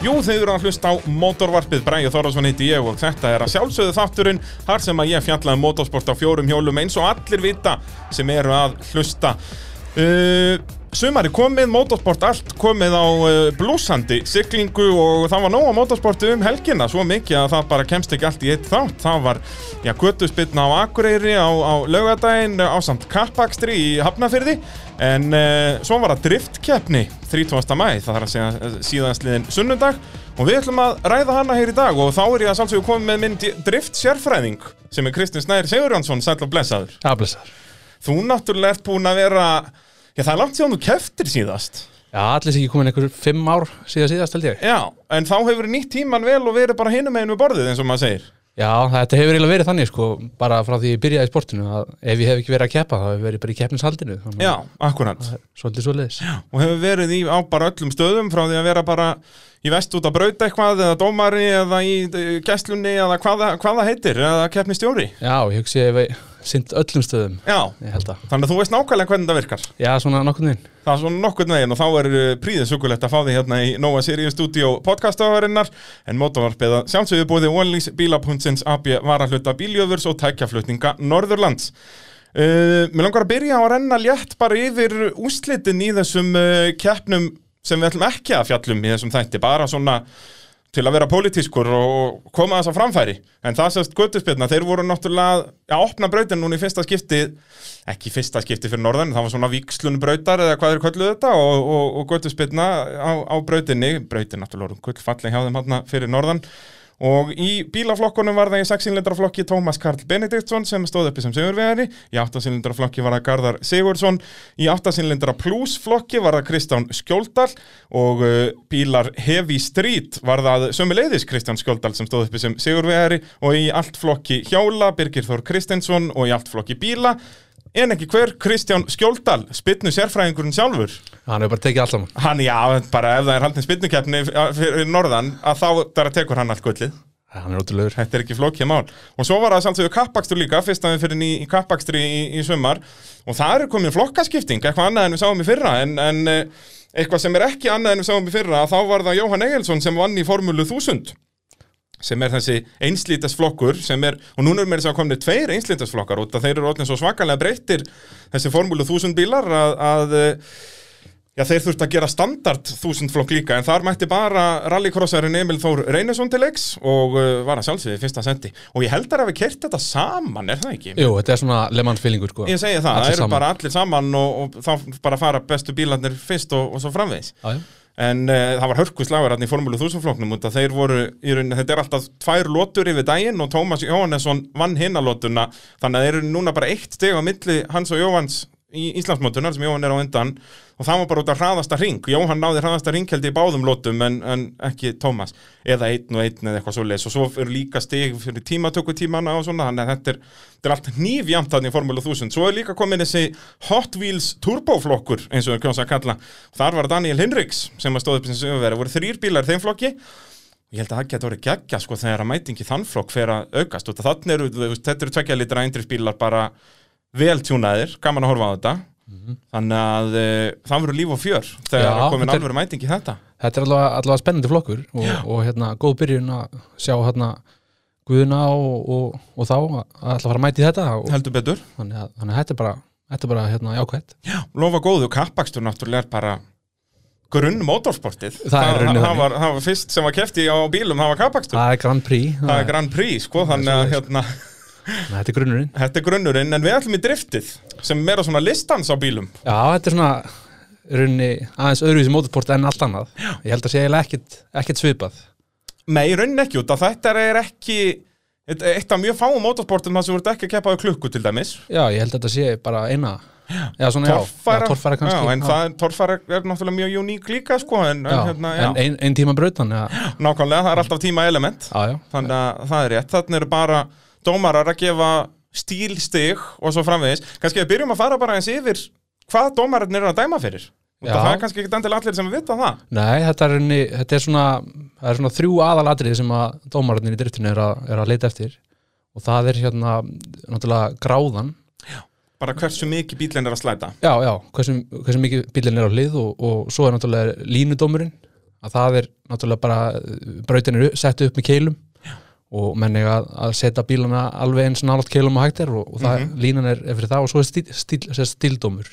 Jú, þeir eru að hlusta á mótorvarpið Bræði Þorðarsson heiti ég og þetta er að sjálfsögðu þátturinn þar sem að ég fjallaði mótorsport á fjórum hjólum eins og allir vita sem eru að hlusta uh, Sumari komið, mótorsport allt komið á uh, blúsandi siglingu og það var nóg á mótorsportu um helgina svo mikið að það bara kemst ekki allt í eitt þátt það var, já, göttuspilna á Akureyri á, á laugardaginn á samt kappakstri í Hafnafyrði en uh, svo var það driftkeppni 30. mæ, það þarf að segja síðansliðin sunnundag og við ætlum að ræða hana hér í dag og þá er ég að sálsögðu komið með minn drift sérfræðing sem er Kristinn Snær Sigurjónsson, sæll og blessaður Já, blessaður. Þú náttúrulega ert búin að vera já það er langt síðan þú keftir síðast Já, allir sem ekki komin einhver fimm ár síðan síðast held ég. Já, en þá hefur nýtt tíman vel og verið bara hinum meginn við borðið eins og maður segir Já, þetta hefur eiginlega verið þannig sko, bara frá því ég byrjaði í sportinu að ef ég hef ekki verið að keppa þá hefur verið bara í keppnishaldinu. þannig Já, að akkurat Svolítið svoleiðis. Já. og hefur verið í, á bara öllum stöðum frá því að vera bara í vest út að brauta eitthvað eða dómari eða í eh, gæslunni eða hvað, hvað það heitir eða keppnistjóri ég hugsi ef ég sint öllum stöðum, Já, ég held að. Þannig að þú veist nákvæmlega hvernig það virkar Já, svona nokkurn veginn. Það er svona nokkurn veginn og þá er uh, príðið sökulegt að fá því hérna í Nóa Sirius Studio podcastafarinnar en mótavarpið að sjálfsögðu búið Onlýs bílapuntsins AB varahluta bíljöfurs og tækjaflutninga Norðurlands uh, Mér langar að byrja á að renna létt bara yfir úslitin í þessum uh, keppnum sem við ætlum ekki að fjallum í þessum þætti bara svona til að vera pólitískur og koma þess að framfæri en það sést göttuspilna, þeir voru náttúrulega að opna brautin núna í fyrsta skipti ekki í fyrsta skipti fyrir norðan það var svona vikslun brautar eða hvað er kölluð þetta og, og, og göttuspilna á, á brautinni, brautin náttúrulega voru gullfalleg hjá þeim hann fyrir norðan og í bílaflokkunum var það í 6 cylindraflokki Tómas Karl Benediktsson sem stóð uppi sem sigurvegari, í 8 cylindraflokki var það Garðar Sigurðsson, í 8 cylindra plus flokki var það Kristján Skjóldal og uh, bílar Heavy Street var það sömuleiðis Kristján Skjóldal sem stóð uppi sem sigurvegari og í allt flokki hjála Birgir Þór Kristinsson og í allt flokki bíla en ekki hver Kristján Skjóldal spytnu sérfræðingurinn sjálfur Hann hefur bara tekið allt saman. hann já, bara ef það er haldin spytnukeppni fyrir norðan að þá bara tekur hann allt gullið Hann er ótrúlegur. þetta er ekki flókið mál og svo var það sjálfsögur kappakstur líka fyrst að við fyrir í, í kappakstri í, í sumar og það er komin flokkaskipting eitthvað annað en við sáum í fyrra en, en eh, eitthvað sem er ekki annað en við sáum í fyrra þá var það Jóhann Egilson sem vann í formúlu 1000 sem er þessi einslítasflokkur sem er, og núna er mér þess að komni tveir einslítasflokkar út að þeir eru allir svo svakalega breyttir þessi formúlu 1000 bílar að, að eh, Já, þeir þurft að gera standard þúsundflokk líka en þar mætti bara rallycrossarinn Emil Þór Reynesson til leiks og uh, var að sjálfsögði í fyrsta sendi og ég held að hafi kert þetta saman, er það ekki? Jú, þetta er svona lemans feelingur sko. Ég segi það, það Allir eru saman. bara allir saman og, og þá bara fara bestu bílarnir fyrst og, og svo framvegis Já, já. en uh, það var hörkuslagur hann í formúlu 1000 flokknum út að þeir voru, í rauninni, þetta er alltaf tvær lotur yfir daginn og Tómas Jóhannesson vann hinna lotuna, þannig að þeir eru núna bara eitt steg á milli hans og Jóhanns í Íslandsmótunar sem Jóhann er á undan og það var bara út að hraðasta ring Jóhann náði hraðasta ring held ég í báðum lotum en, en ekki Tómas eða einn og einn eða eitthvað svoleiðis og svo eru líka steg fyrir tímatökutímana og svona þannig að þetta er, þetta er allt nýfjamt þannig í Formule 1000 svo er líka komin þessi Hot Wheels turboflokkur eins og þau kjósa að kalla þar var Daniel Hinrichs sem að stóð upp sem öfveri voru þrýr bílar í þeim flokki Ég held að það getur orðið geggja sko þegar að mætingi þannflokk fer að aukast út að þannig eru, þú veist, þetta eru tvekja litra eindrifsbílar bara vel tjúnaðir, gaman að horfa á þetta þannig að uh, það verður líf og fjör þegar Mhm. Já, það er komin þetta er- alveg mætingi í þetta Þetta er allavega, allavega spennandi flokkur og, og hérna, góð byrjun að sjá hérna Guðuna og, og, og þá að að ætla að fara að mæti þetta og, heldur betur, þannig, að, þannig að þetta er bara, þetta er bara hérna, jákvætt lofa góðu kappakstur náttúrulega er bara grunn motorsportið Það er rauninni það, var, það var fyrst sem var kefti á bílum það var kappakstur, Það er Grand Prix, það, það er Grand Prix sko, þannig að hérna, þannig að þetta er grunnurinn þetta er grunnurinn en við ætlum í driftið sem er meira svona listans á bílum Já, þetta er svona í rauninni aðeins öðruvísi mótorport en allt annað Ég held að sé eiginlega ekkit, ekkit svipað Nei, í rauninni ekki út að þetta er ekki þetta er eitt af mjög fáum motorsportum þar sem voru ekki að keppa á klukku til dæmis Já, ég held að þetta sé bara eina Já, svona, Torfæra, já, já, torfæra kannski en það, er- torfæra er náttúrulega mjög uník líka sko, en, já, en, hérna, já, en ein, ein tíma brautan Já, nákvæmlega, það er alltaf tíma element já, já, þannig að það er rétt, þannig eru bara dómarar að gefa stílstig og svo framvegis, kannski við byrjum að fara bara eins yfir hvað dómararnir eru að dæma fyrir Út að Já. það er kannski ekki endilega allir sem vita það Nei, þetta er, henni, þetta er, svona, það er svona þrjú aðalatriði sem að dómararnir í driftinu er að, er að leita eftir og það er hérna náttúrulega gráðan bara hversu mikið bílinn er að slæta já, já, hversu, hversu mikið bílinn er á hlið og, og svo er náttúrulega línudómurinn að það er náttúrulega bara eh, brautin er sett upp með keilum og menn eiga að- að setja bílana alveg eins nálaft keilum að hægt er og, og það, línan er, er fyrir það og svo er stíl, stíl, stíl, stíldómur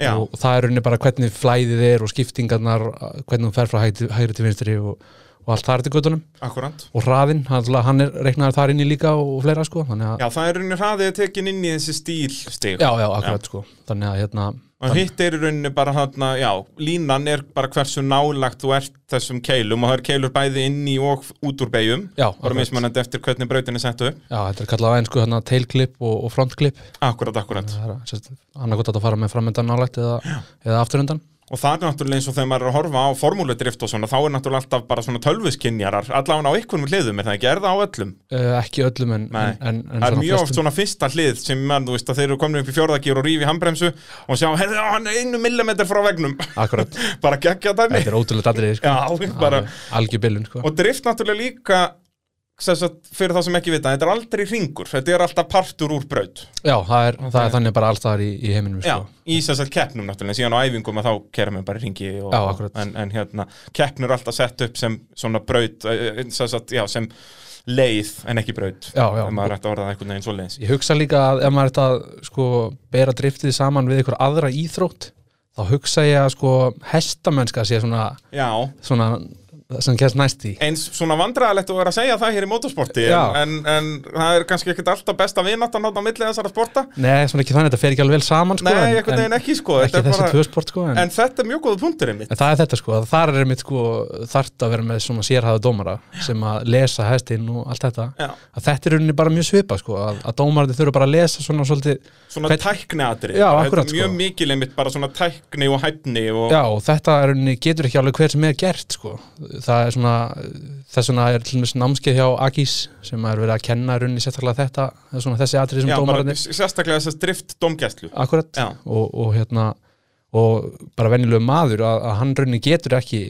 já, og það er rauninni bara hvernig flæðið er og skiptingarnar, hvernig hún fer frá hægri, hægri til vinstri og, og allt þar til göttunum akkurant og hraðinn, hann, náttúrulega, hann er reiknaður þar inni líka og, og fleira sko þannig að, Já, það er rauninni hraðið tekin inn í þessi stíl stig. já, já, akkurat sko þannig að hérna, Og hitt er í rauninni bara þarna, já, línan er bara hversu nálagt þú ert þessum keilum og það er keilur bæði inn í og út úr beigjum. Bara Já, akkurat. mismunandi eftir hvernig brautin er sett upp. já, þetta er kallað á einsku hérna, tail clip og, og front clip Akkurat, akkurat. það er að, sérst, annarkot að fara með framöndan nálægt eða, eða afturöndan Og það er náttúrulega eins og þegar maður er að horfa á formúludrift og svona, þá er náttúrulega alltaf bara svona tölvuskinjarar, allavega á einhvernum hliðum, er það ekki, er það á öllum? uh, ekki öllum en, Nei. en, en, en það er svona mjög oft flestum. svona fyrsta hlið sem mann, þú veist, að þeir eru komin upp í fjórðagýr og rífi handbremsu og sjá, herðu, já, hann er einu millimetr frá vegnum Akkurat. bara geggja dæmi þetta er ótrúlega dadrið sko. já, bara, algjörbilun sko. og drift náttúrulega líka sem sagt, fyrir þá sem ekki vita, þetta er aldrei ringur þetta er alltaf partur úr braut já, það er, það er þannig bara allstaðar í, í heiminum já, sko. í þess að keppnum náttúrulega, síðan á æfingum að þá kerum við bara í ringi og, Já, akkurat. en, en hérna, keppnur er alltaf sett upp sem svona braut, eh, eh, sem, sagt, já, sem leið en ekki braut Já, já. ef maður ætti að orða það einhvern veginn svoleiðis ég hugsa líka að ef maður þetta sko, bera driftið saman við ykkur aðra íþrótt þá hugsa ég að sko, hestamennska sé svona, já, svona sem kemst næst í eins svona vandræðalegt að vera að segja það hér í motorsporti en, Já. en, en það er kannski ekkert alltaf besta vináttan á milli þessara sporta Nei, svona ekki þannig, þetta fer ekki alveg vel saman sko, Nei, en- einhvern en veginn ekki, sko, þetta Ekki er þessi bara- tvö sport sko, en, en þetta er mjög góða punktur einmitt En það er þetta sko, að þar er mitt sko þart að vera með svona sérhæða dómara sem að lesa hestinn og allt þetta Já. að þetta er í rauninni bara mjög svipa sko að, að dómarandi þurfa bara að lesa svona svolítið svona Hvern- tækniatri Já, Þetta er akkurat, sko. mjög mikil einmitt bara svona tækni og hæfni og Já, og þetta er í rauninni getur ekki alveg hver sem er gert sko það er svona, þess vegna er til dæmis námskeið hjá Akis sem er verið að kenna í rauninni sérstaklega þetta eða svona þessi atrið sem Já, bara dómarandi s- sérstaklega þess að drift domgæslu akkurat Já. og, og hérna og bara venjulegu maður að, að hann rauninni getur ekki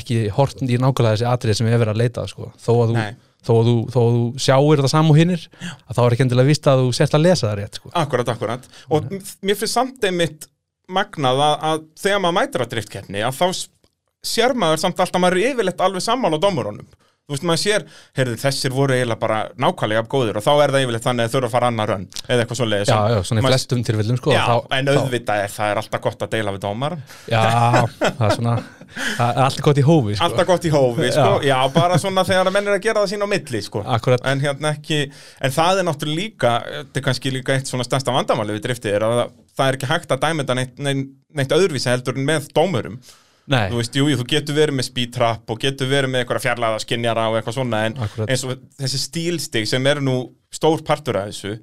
ekki hort í nákvæmlega þessi atrið sem er verið að leita að, sko. þó, að þú, Nei. þó að þú þó að þú sjáir það saman og hinnir að þá er ekki endilega víst að þú sért að lesa það rétt sko. Akkurat, akkurat og m- mér finnst samt einmitt magnað að, að þegar maður mætir að driftkeppni að þá s- sér maður samt alltaf maður er yfirleitt alveg sammála dómurunum þú veist maður sér, heyrðu þessir voru eiginlega bara nákvæmlega jafn góðir og þá er það yfirleitt þannig að þurfa að fara annar rönn eða eitthvað svo leiðis já, já, svona í flestum tilfellum sko, já, þá, en auðvitað er það er alltaf gott að deila við dómar já, það er svona það er allt gott í hófi sko. alltaf gott í hófi, sko, já. bara svona þegar menn er að gera það sín á milli, sko Akkurat. en hérna ekki, en það er náttúrulega líka þetta er kannski líka eitt svona stærsta vandamáli við driftið er að það er ekki hægt að dæma þetta neitt, neitt, neitt öðruvísi heldur en með dómurum Nei, þú veist, jú, jú, þú getur verið með speed trap og getur verið með einhverja fjarlæða skinjara og eitthvað svona en Akkurat. eins og þessi stílstig sem er nú stór partur af þessu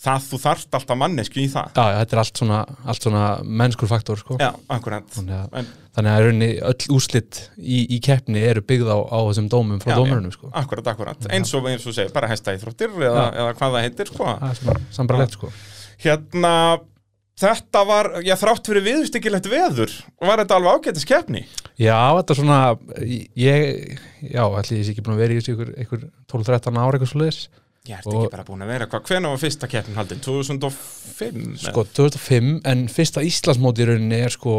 það þú þarft alltaf mannesku í það já, já, þetta er allt svona, allt svona mennskur faktor sko. já, akkurat Þannig að- en, þannig að í rauninni öll úslit í, í keppni eru byggð á, á þessum dómum frá já, dómurunum sko. akkurat, akkurat, eins og, eins og segir bara hesta íþróttir eða, eða hvað það heitir sko. það er svona sambarlegt sko. hérna þetta var, já þrátt fyrir viðustykilegt veður var þetta alveg ágætis keppni Já, þetta er svona ég, já, ætli ég sé ekki búin að vera í þessu ykkur, ykkur 12-13 ára eitthvað svoleiðis ég ert Og- ekki bara búin að vera eitthvað, hvenær var fyrsta keppnin haldin? 2005? sko 2005, en fyrsta Íslandsmóti í rauninni er sko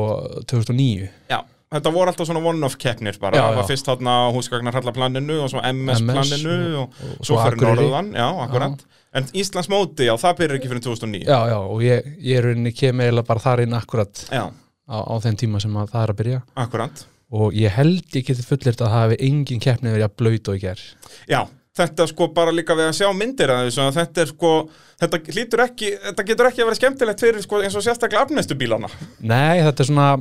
2009 Já, þetta voru alltaf svona one-off keppnir bara, Já, það var já. fyrst þarna húsgagnarhallaplaninu og svo MS-planinu MS, og, og- og svo svo fyrir Akureyri. Norðan, já, akkurat En Íslands móti, já, það byrjar ekki fyrir 2009 Já, já, og ég, ég í rauninni kem eiginlega bara þar inn akkurat já á, á þeim tíma sem að það er að byrja akkurat og ég held ég geti fullirt að það hafi engin keppni verið að blöyt og ég ger Já, þetta sko bara líka við að sjá myndir að þessu, að þetta er sko þetta hlýtur ekki, þetta getur ekki að vera skemmtilegt fyrir sko eins og sérstaklega afnestu bílana Nei, þetta er svona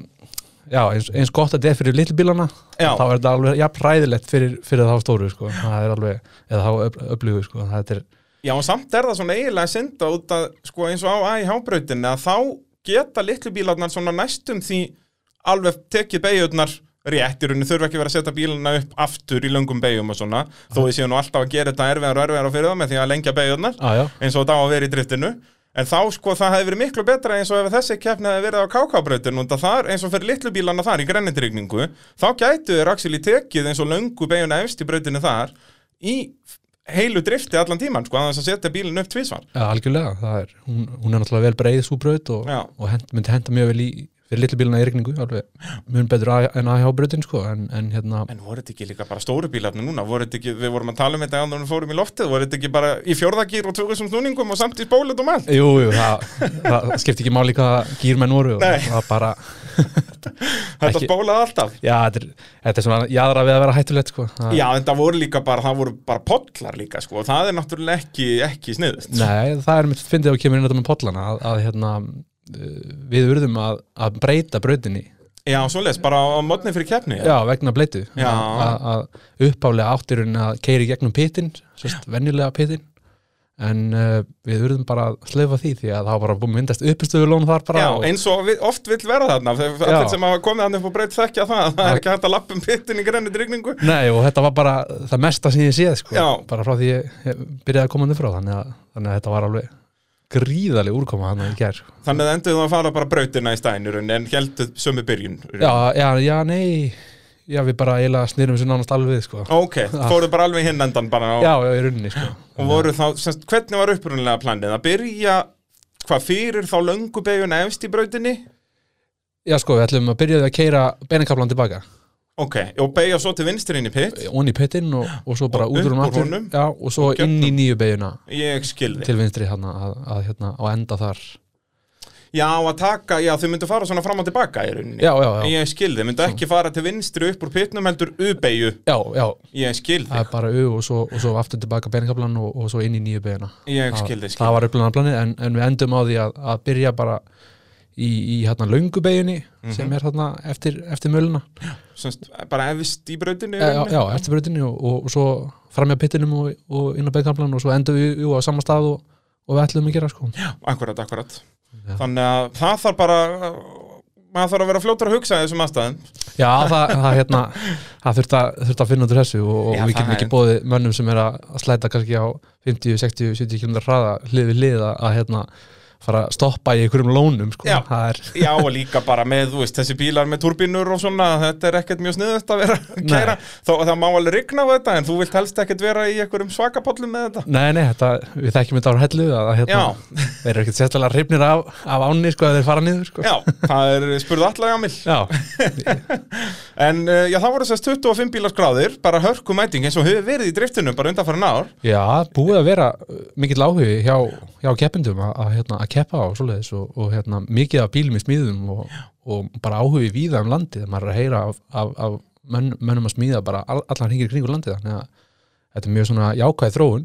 já, eins, eins gott að þetta er fyrir litlbílana Já. þá er þetta alveg jafn ræðilegt fyrir, fyrir þá stóru sko. það er alveg, eða þá öf- öflugu sko. þetta er, Já, og samt er það svona eiginlega synda út að sko eins og á AIH-brautinni að þá geta litlu bílarnar svona næstum því alveg tekið beigjurnar rétt í rauninni, þurfa ekki verið að setja bíluna upp aftur í löngum beigjum og svona þó þið séu nú alltaf að gera þetta erfiðar og erfiðar fyrir það með því að lengja beigjurnar á, já, eins og þetta á að vera í driftinu en þá sko það hefði verið miklu betra eins og ef þessi keppni hefði verið á KK-brautin og þar eins og fyrir litlu bílana þar í grennindrygningu þá gætu þeir axil í tekið eins og löngu beiguna efst í brautinu þar í heilu drifti allan tíman sko aðeins að setja bílinn upp tvísvar ja, algjörlega það er, hún, hún er náttúrulega vel breið súbraut og, Já. og hent, myndi henda mjög vel í fyrir litlu bíluna í rigningu alveg mun betur A- en AH brautin sko en, en hérna En voru þetta ekki líka bara stóru bílarnir núna? Voru þetta ekki, við vorum að tala um þetta áður en við fórum í loftið, voru þetta ekki bara í fjórðagýr og tvögusum snúningum og samt í spólet og allt? Jú, jú, það, það skipti ekki máli hvað gýr menn voru og Nei. það var bara Þetta Ekki- spólaði alltaf. já, þetta er, þetta er svona jaðra við að vera hættulegt sko það, Já, en það voru líka bara, það voru bara pollar líka, sko, og það er náttúrulega ekki, ekki sniðust. Nei, það er mitt fyndið að kemur inn þetta með pollana að, að hérna uh, við urðum að, að breyta brautinni Já, svoleiðis, bara á mótni fyrir keppni. já, vegna bleitu Já. að, að uppálega áttirun að keiri gegnum pitin, sérst venjulega pitin en uh, við urðum bara að slöfa því því að það var bara búin að myndast uppistöðulón þar bara Já, og, eins og við, oft vill vera þarna, þegar Já. allir sem hafa komið hann upp og breytt þekkja það, það er ekki hægt að lappa um pittin í grænni drygningu. Nei, og þetta var bara það mesta sem ég séð sko, Já. bara frá því ég, ég byrjaði að koma hann frá þannig að, þannig að þetta var alveg gríðaleg úrkoma hann að ég gær sko. Þannig að endur þú að fara bara brautina í stænur en, en heldur sömu byrjun. já, já, já, nei já, við bara eiginlega snýrum sér nánast alveg við, sko. Ok, fóruð bara alveg í hinn endan bara og, já, já, í rauninni sko. og voru þá, semst, hvernig var upprunalega planið? Að byrja, hvað, fyrir þá löngu beiguna efst í brautinni? já, sko, við ætlum að byrjaði að keira beinakablan tilbaka Ok, og beigja svo til vinstri inn í pitt? onni í pittin og, og svo bara Og út úr hún upp úr aftur honum. já, og svo Og gegnum. inn í nýju beiguna Ég skilði. til vinstri hann að, að hérna, á enda þar Já, að taka, já, þau myndu fara svona fram og tilbaka í rauninni. já, já, já, Ég skilði, myndu ekki fara til vinstri upp úr pittnum heldur ubeigju. já, já Ég það skilði, er bara au og svo, og svo aftur tilbaka beinakablan og, og svo inn í nýju beiguna ég Það- skilði, það skilði. var upplunarplanið en, en við endum á því að, að byrja bara í, í hérna löngubeginni Mhm. sem er hérna eftir, eftir möluna Semst, bara efst í brautinu. í já, já, rauninni. já, eftir brautinni og, og, og svo framjá pittinum og, og inn á beginkamplan og svo endum við jú, á sama stað og, og við ætlum að gera sko. Akkurat, akkurat. Já. Þannig að það þarf bara, maður þarf að vera fljótur að hugsa í þessum aðstæðum. já, það, það, hérna, það þurft, að, þurft að finna út úr þessu og, og Já, við getum það ekki er- bóðið mönnum sem er að að slæta kannski á 50, 60, 70 km hraða hlið við hlið að- að hérna, fara að stoppa í einhverjum lónum sko. Já. það er Já, og líka bara með, þú veist, þessi bílar með turbínur og svona, þetta er ekkert mjög sniðut að vera að Nei. kæra. Þó að það má alveg rigna á þetta, en þú vilt helst ekkert vera í einhverjum svakapollum með þetta. Nei, nei, þetta, við þekkjum þetta á hellu að hérna, þeir eru ekkert sérstaklega hrifnir af, af ánni sko að þeir fara niður sko. Já, það er spurði allega mill. Já, En uh, já, það voru þess 25 bílar skráðir, bara hörku mæting eins og hefur verið í driftunum bara undanfærin ár. já, búið að vera uh, mikill áhugi hjá, hjá keppindum að, að, hérna, að keppa á svoleiðis og, og hérna, mikið af bílum í smíðum og, og bara áhugi víða um landið maður er að heyra af, af, af mönn, mönnum að smíða bara all, allan hringir kringur landið þannig að þetta er mjög svona jákvæð þróun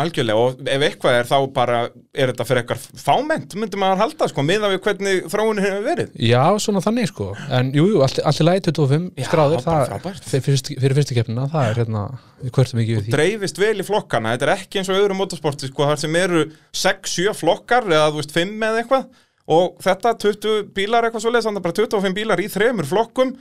Algjörlega, og ef eitthvað er þá bara, er þetta fyrir eitthvað fámennt, myndi maður halda, sko, miða við hvernig þróunin hefur verið. Já, svona þannig sko en jú, jú, allt, allt í lagi 25 Já, skráður bara það, frábært. fyrir, fyrstu- fyrir fyrstu keppnina það er hérna, við kvörtum ekki við því Dreifist vel í flokkana, þetta er ekki eins og öðru motorsporti, sko, þar sem eru 6-7 flokkar eða, þú veist, 5 eða eitthvað, og þetta 20 bílar eitthvað svo þannig að bara 25 bílar í þremur flokkum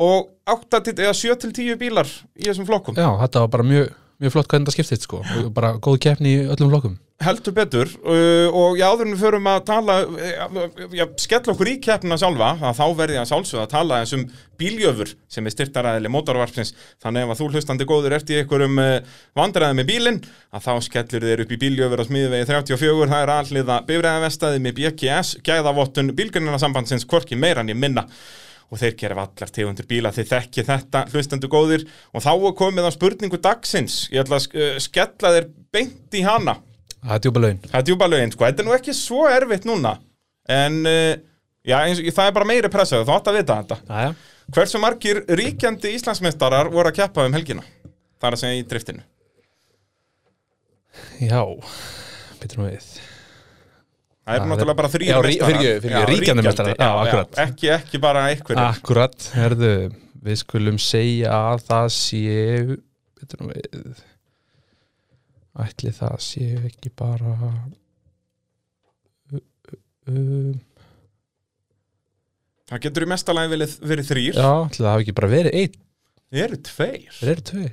og 8 til, eða 7 til 10 bílar í þessum flokkum. Já, þetta var bara mjög, mjög flott hvernig það skiptist sko og bara góð keppni í öllum flokkum heldur betur uh, og já, áður en við förum að tala uh, já, skell okkur í keppnina sjálfa að þá verði að sjálfsögða að tala eins um bíljöfur sem er styrtaræðileg mótorvarpsins þannig ef að þú hlustandi góður ert í einhverjum uh, vandræði með bílinn að þá skellur þeir upp í bíljöfur á smiðvegi 34 það er alliða bifræðavestaði með BGS gæðavottun bílgrunarsambandsins hvorki meira en ég minna og þeir gera allar tegundur bíla þeir þekki þetta hlustendu góðir og þá er komið á spurningu dagsins ég ætla að sk- uh, skella þér beint í hana Það er djúpa laun Það er djúpa lögin, sko, þetta er nú ekki svo erfitt núna En, uh, já, eins, og- það er bara meiri pressa Þú átt að vita þetta Aja. Hversu margir ríkjandi Íslandsmeistarar voru að keppa um helgina? Það er að segja í driftinu Já, betur nú við Það Já, eru náttúrulega þeir- bara þrýr Já, rí- fyrirgefðu, fyrirgefðu, ríkjandi meistarar, já, akkurat. Ekki, ekki bara einhverjum Akkurat, herðu Við skulum segja að það séu betur nú við Ætli það séu ekki bara uh, um, Það getur í mestalagi verið, verið þrýr Já, ætli það hafi ekki bara verið einn Það eru tveir Það eru tveir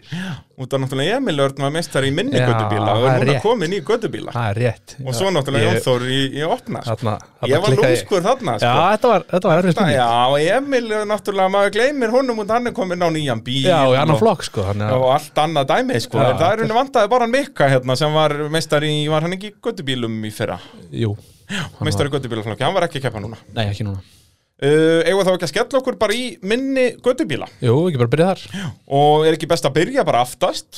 Út af náttúrulega Emil Örn var meistari í minni Já, göttubíla Og það er er núna rétt. komin í göttubíla Það er rétt Og svo náttúrulega Ég- Jónþór í, í opna sko. Þarna, þarna Ég var klikkaði- lúskur þarna sko. Já, þetta var, þetta var erfið Þetta, spurning já, Emil er náttúrulega, maður gleymir honum og hann er komin á nýjan bíl Já, í annan og- flokk sko þannig að- og allt annað dæmi, sko Já, en það er henni vandaði bara hann Mikka hérna sem var meistari, í- var hann ekki í göttubílum í fyrra Jú hann meistari í göttubílaflokki, hann var ekki að keppa núna Nei, ekki núna Eh, Uh, eigum við þá ekki að skella okkur bara í minni göttubíla Jú, ekki bara byrja þar og er ekki best að byrja bara aftast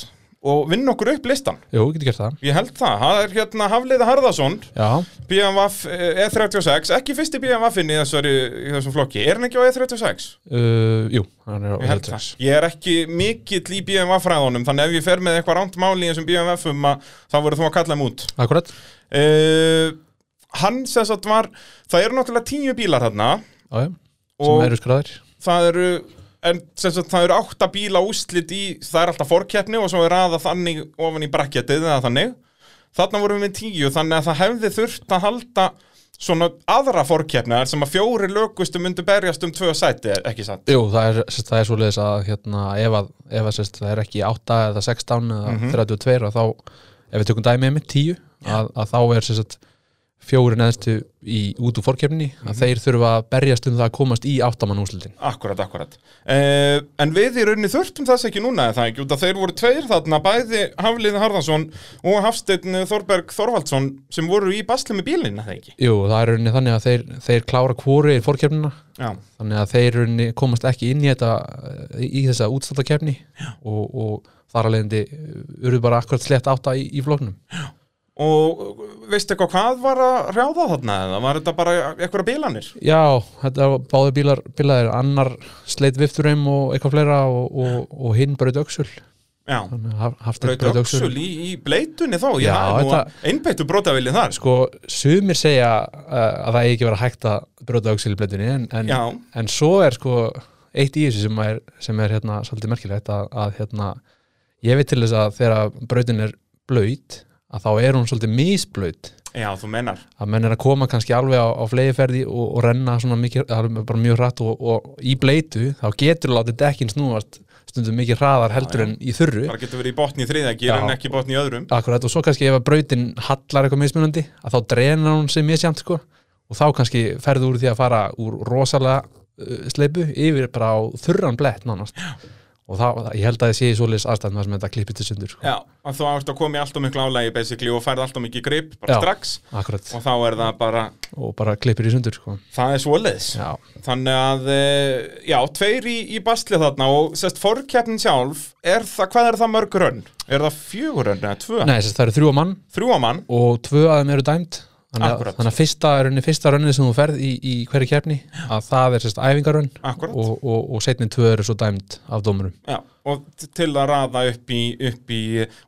og vinna okkur upp listan Jú, getur gert það ég held það, það er hérna Hafliða Harðason Já, BMWF eh, E36 ekki fyrsti BMWF-in í, þessari- í þessum flokki er hann ekki á E E36? uh, jú, hann er á Ég held það. Ég er ekki mikill í BMF-ræðunum, þannig ef ég fer með eitthvað ránt máli í þessum BMF-um um að þá voru þú að kalla þeim út. Akkurat, Uh, hann sem sagt var, það eru náttúrulega tíu bílar þarna já, já, sem og eru skræðir það eru, en sem sagt það eru átta bíla úslit í, það er alltaf forkeppni og svo er aða þannig ofan í brakketið eða þannig. Þarna vorum við með tíu, þannig að það hefði þurft að halda svona aðra forkeppnaðar sem að fjóri lögustu myndu berjast um tvö sæti, ekki satt? Jú, það er, sérst, það er svoleiðis að hérna, ef, að, ef að, sérst, það er ekki 8 eða 16 eða 32 og þá, ef við tökum dæmið með 10 að, að þá er sérst, fjóri neðstu í, út úr fórkefninni að þeir þurfa að berjast um það að komast í 8 mann úrslitin Akkurat, akkurat. Uh, en við í rauninni þurftum þess ekki núna, eða það ekki, út að þeir voru tveir þarna, bæði Hafliði Harðansson og Hafsteinn Þorberg Þorvaldsson sem voru í basli með bílinn, eða ekki? Jú, það er rauninni þannig að þeir, þeir klára kvóri í fórkefnina Já. þannig að þeir rauninni komast ekki inn í þetta í þessa útstátakefni og, og þar að leiðandi uh, urðu bara akkurat slett átta í, í flóknum Og veistu eitthvað hvað var að rjáða þarna, eða var þetta bara eitthvað bílanir? Já, þetta var báði bílar, bílaðir annar sleit vifturum og eitthvað fleira og, og, og hinn braut öxul Já. Þannig að haft Braut öksul í, í bleitunni þá, já, Já, já þetta- einbeittu brótavillin þar, sko. Sko, sumir segja uh, að það eigi ekki verið hægt að brjóta öxul í bleitunni en, en, Já. en svo er sko eitt í þessu sem er, sem er hérna svolítið merkilegt að, að hérna ég veit til þess að þegar brautin er blöyt að þá er hún svolítið misblöyt Já, þú mennar. að menn er að koma kannski alveg á, á flegiferði og, og renna svona mikið, alveg bara mjög hratt og, og í bleitu, þá getur látið dekkin snúast stundum mikið hraðar heldur en í þurru Bara getur verið í botni í þriðagir Já. en ekki í botni í öðrum. Akkurat, og svo kannski ef að brautin hallar eitthvað mismunandi, að þá drenar hún sig misjant sko, og þá kannski ferðu úr því að fara úr rosalega uh, sleipu yfir bara á þurran blett nánast, og þá, ég held að ég sé í svoleiðis aðstæðum þar sem þetta klippist til sundur sko. Já, að þú ást að koma í alltaf miklu álægi basically og færð alltaf mikið grip bara Já. strax Akkurat, og þá er það bara og bara klippir í sundur sko. Það er svoleiðis. Já, Þannig að, eh, já, tveir í, í basli þarna og sérst fórkeppnin sjálf, er það, hvað er það mörg rönn? Er það fjögur rönn eða tvö? nei, þess að það eru þrjú á mann Þrjú á mann? og tvö af þeim eru dæmt þannig að, Akkúrat. þannig að fyrsta, raunni, fyrsta raunnið sem þú ferð í, í hverju keppni að það er sérst æfingarönn Akkúrat. og, og, og setni tvö eru svo dæmt af dómurum Já, og t- til að raða upp í, upp í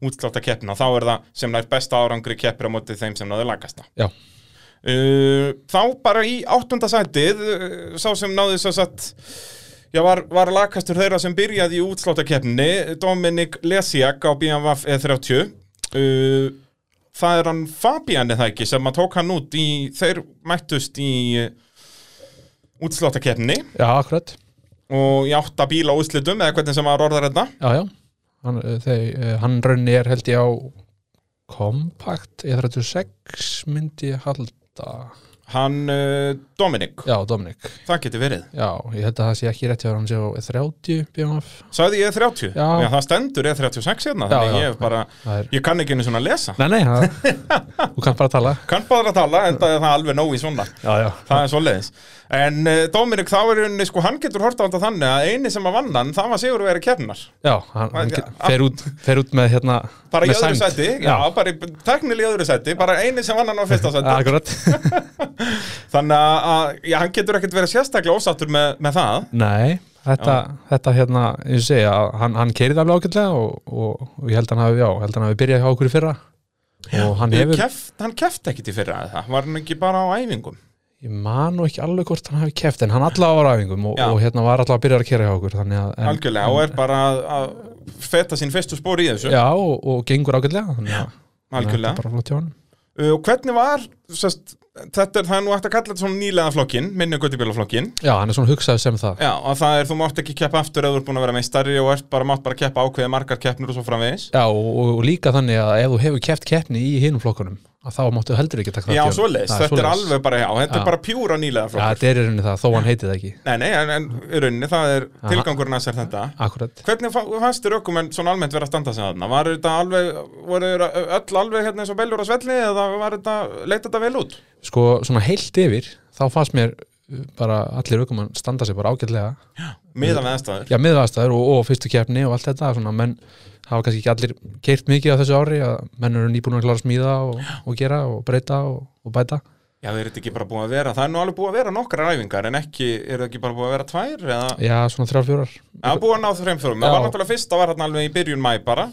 útsláta keppna, þá er það sem nær besta árangri keppir á mótið þeim sem náður lagasta. Já, Uh, þá bara í áttunda sætið, uh, sá sem náði svo satt, já, var, var lagastur þeirra sem byrjaði í útsláta keppni, Dominik Lesiak á BMWF E30. Uh, E það er hann Fabian eða ekki sem að tók hann út í, þeir mættust í eh, útsláta keppni já, akkurat og í átta bíla útslitum eða hvernig sem var orðar þetta. Já, já, hann, eh, þeir, eh, hann raunni er held ég á kompakt E E36 myndi ég halda Hann uh, Dominik, Já, Dominik það getur verið. Já, ég held að það sé ekki rétt hjá hann sé á E E30 BMF Sagði ég E30? Já. það stendur E36 hérna, Já, þannig já. ég er bara, Það er ég kann ekki einu svona að lesa. Nei, nei, það, þú kannt bara tala Kann bara að tala, en það er það alveg nóg í svona Já, já Það er svoleiðis En uh, Dóminik, þá er henni, sko, hann getur horta á þetta þannig að eini sem að vann hann, það var Sigur verið keppnar Já, hann, hann Að- get- fer, út, fer út með hérna Bara í með öðru sæmd. sæti, já, bara í teknil í öðru sæti Bara eini sem vann hann á fyrsta sæti Akkurat Þannig að, að, já, hann getur ekkert verið sérstaklega ósattur með, með það Nei, þetta, þetta hérna, eins og segja að hann, hann keiriði alveg ágætlega og, og, og ég held að hann hafi, já, held að hann hafi byrjað hjá okkur í fyrra og hann hefur, Keft, Hann keft ekkit í fyrra eða það, var hann ekki bara á æfingum ég man nú ekki alveg hvort hann hafi keft en hann allavega var á æfingum og, Já. og hérna var allavega að byrja að keira hjá okkur þannig að, en, Algjörlega, og er bara að, að feta sín fyrstu spór í þessu já, og, og gengur ágætlega þannig að þetta Algjörlega er bara flott hjá hann Uh, Og hvernig var, sest, þetta er það er nú hægt að kalla þetta svona nýlega flokkin, minni göttibílaflokkin Já, hann er svona hugsaður sem það Já, og það er, þú mátt ekki keppa aftur ef þú ert búin að vera meistari og ert bara, mátt bara keppa ákveðið margar keppnur og svo framvegis. Já, og, og líka þannig að ef þú hefur keft keppni í hinum flokkunum að þá máttu heldur ekki taka þátt í Já, honum. svoleiðis, Það þetta er svoleiðis. alveg bara, já, þetta Já. er bara pjúra nýlega Já, flokkur. þetta er í rauninni það, þó hann heitið ekki Nei, nei, en, en í rauninni, það er Aha. tilgangurinn að sér þetta. Akkurat Hvernig fa- fannst þér ökumenn svona almennt vera að standa sig þarna? Var þetta alveg, voru þeir öll alveg hérna eins og bellur á svelli eða var þetta, leit þetta vel út? Sko, svona heilt yfir, þá fannst mér uh, bara allir aukumann standa sig bara ágætlega meðan við aðstæður já, miðvæðastæður og, og fyrstu keppni og allt þetta svona, menn hafa kannski ekki allir keirt mikið á þessu ári að menn eru nýbúin að klára að smíða og, og gera og breyta og, og bæta Já, þeir eru þetta ekki bara búið að vera, það er nú alveg búið að vera nokkrar æfingar en ekki, eru það ekki bara búið að vera tvær eða, já, svona þrjár fjórar að búið að ná þreim fjórum það Já. var náttúrulega fyrst, það var hann alveg í byrjun mæ bara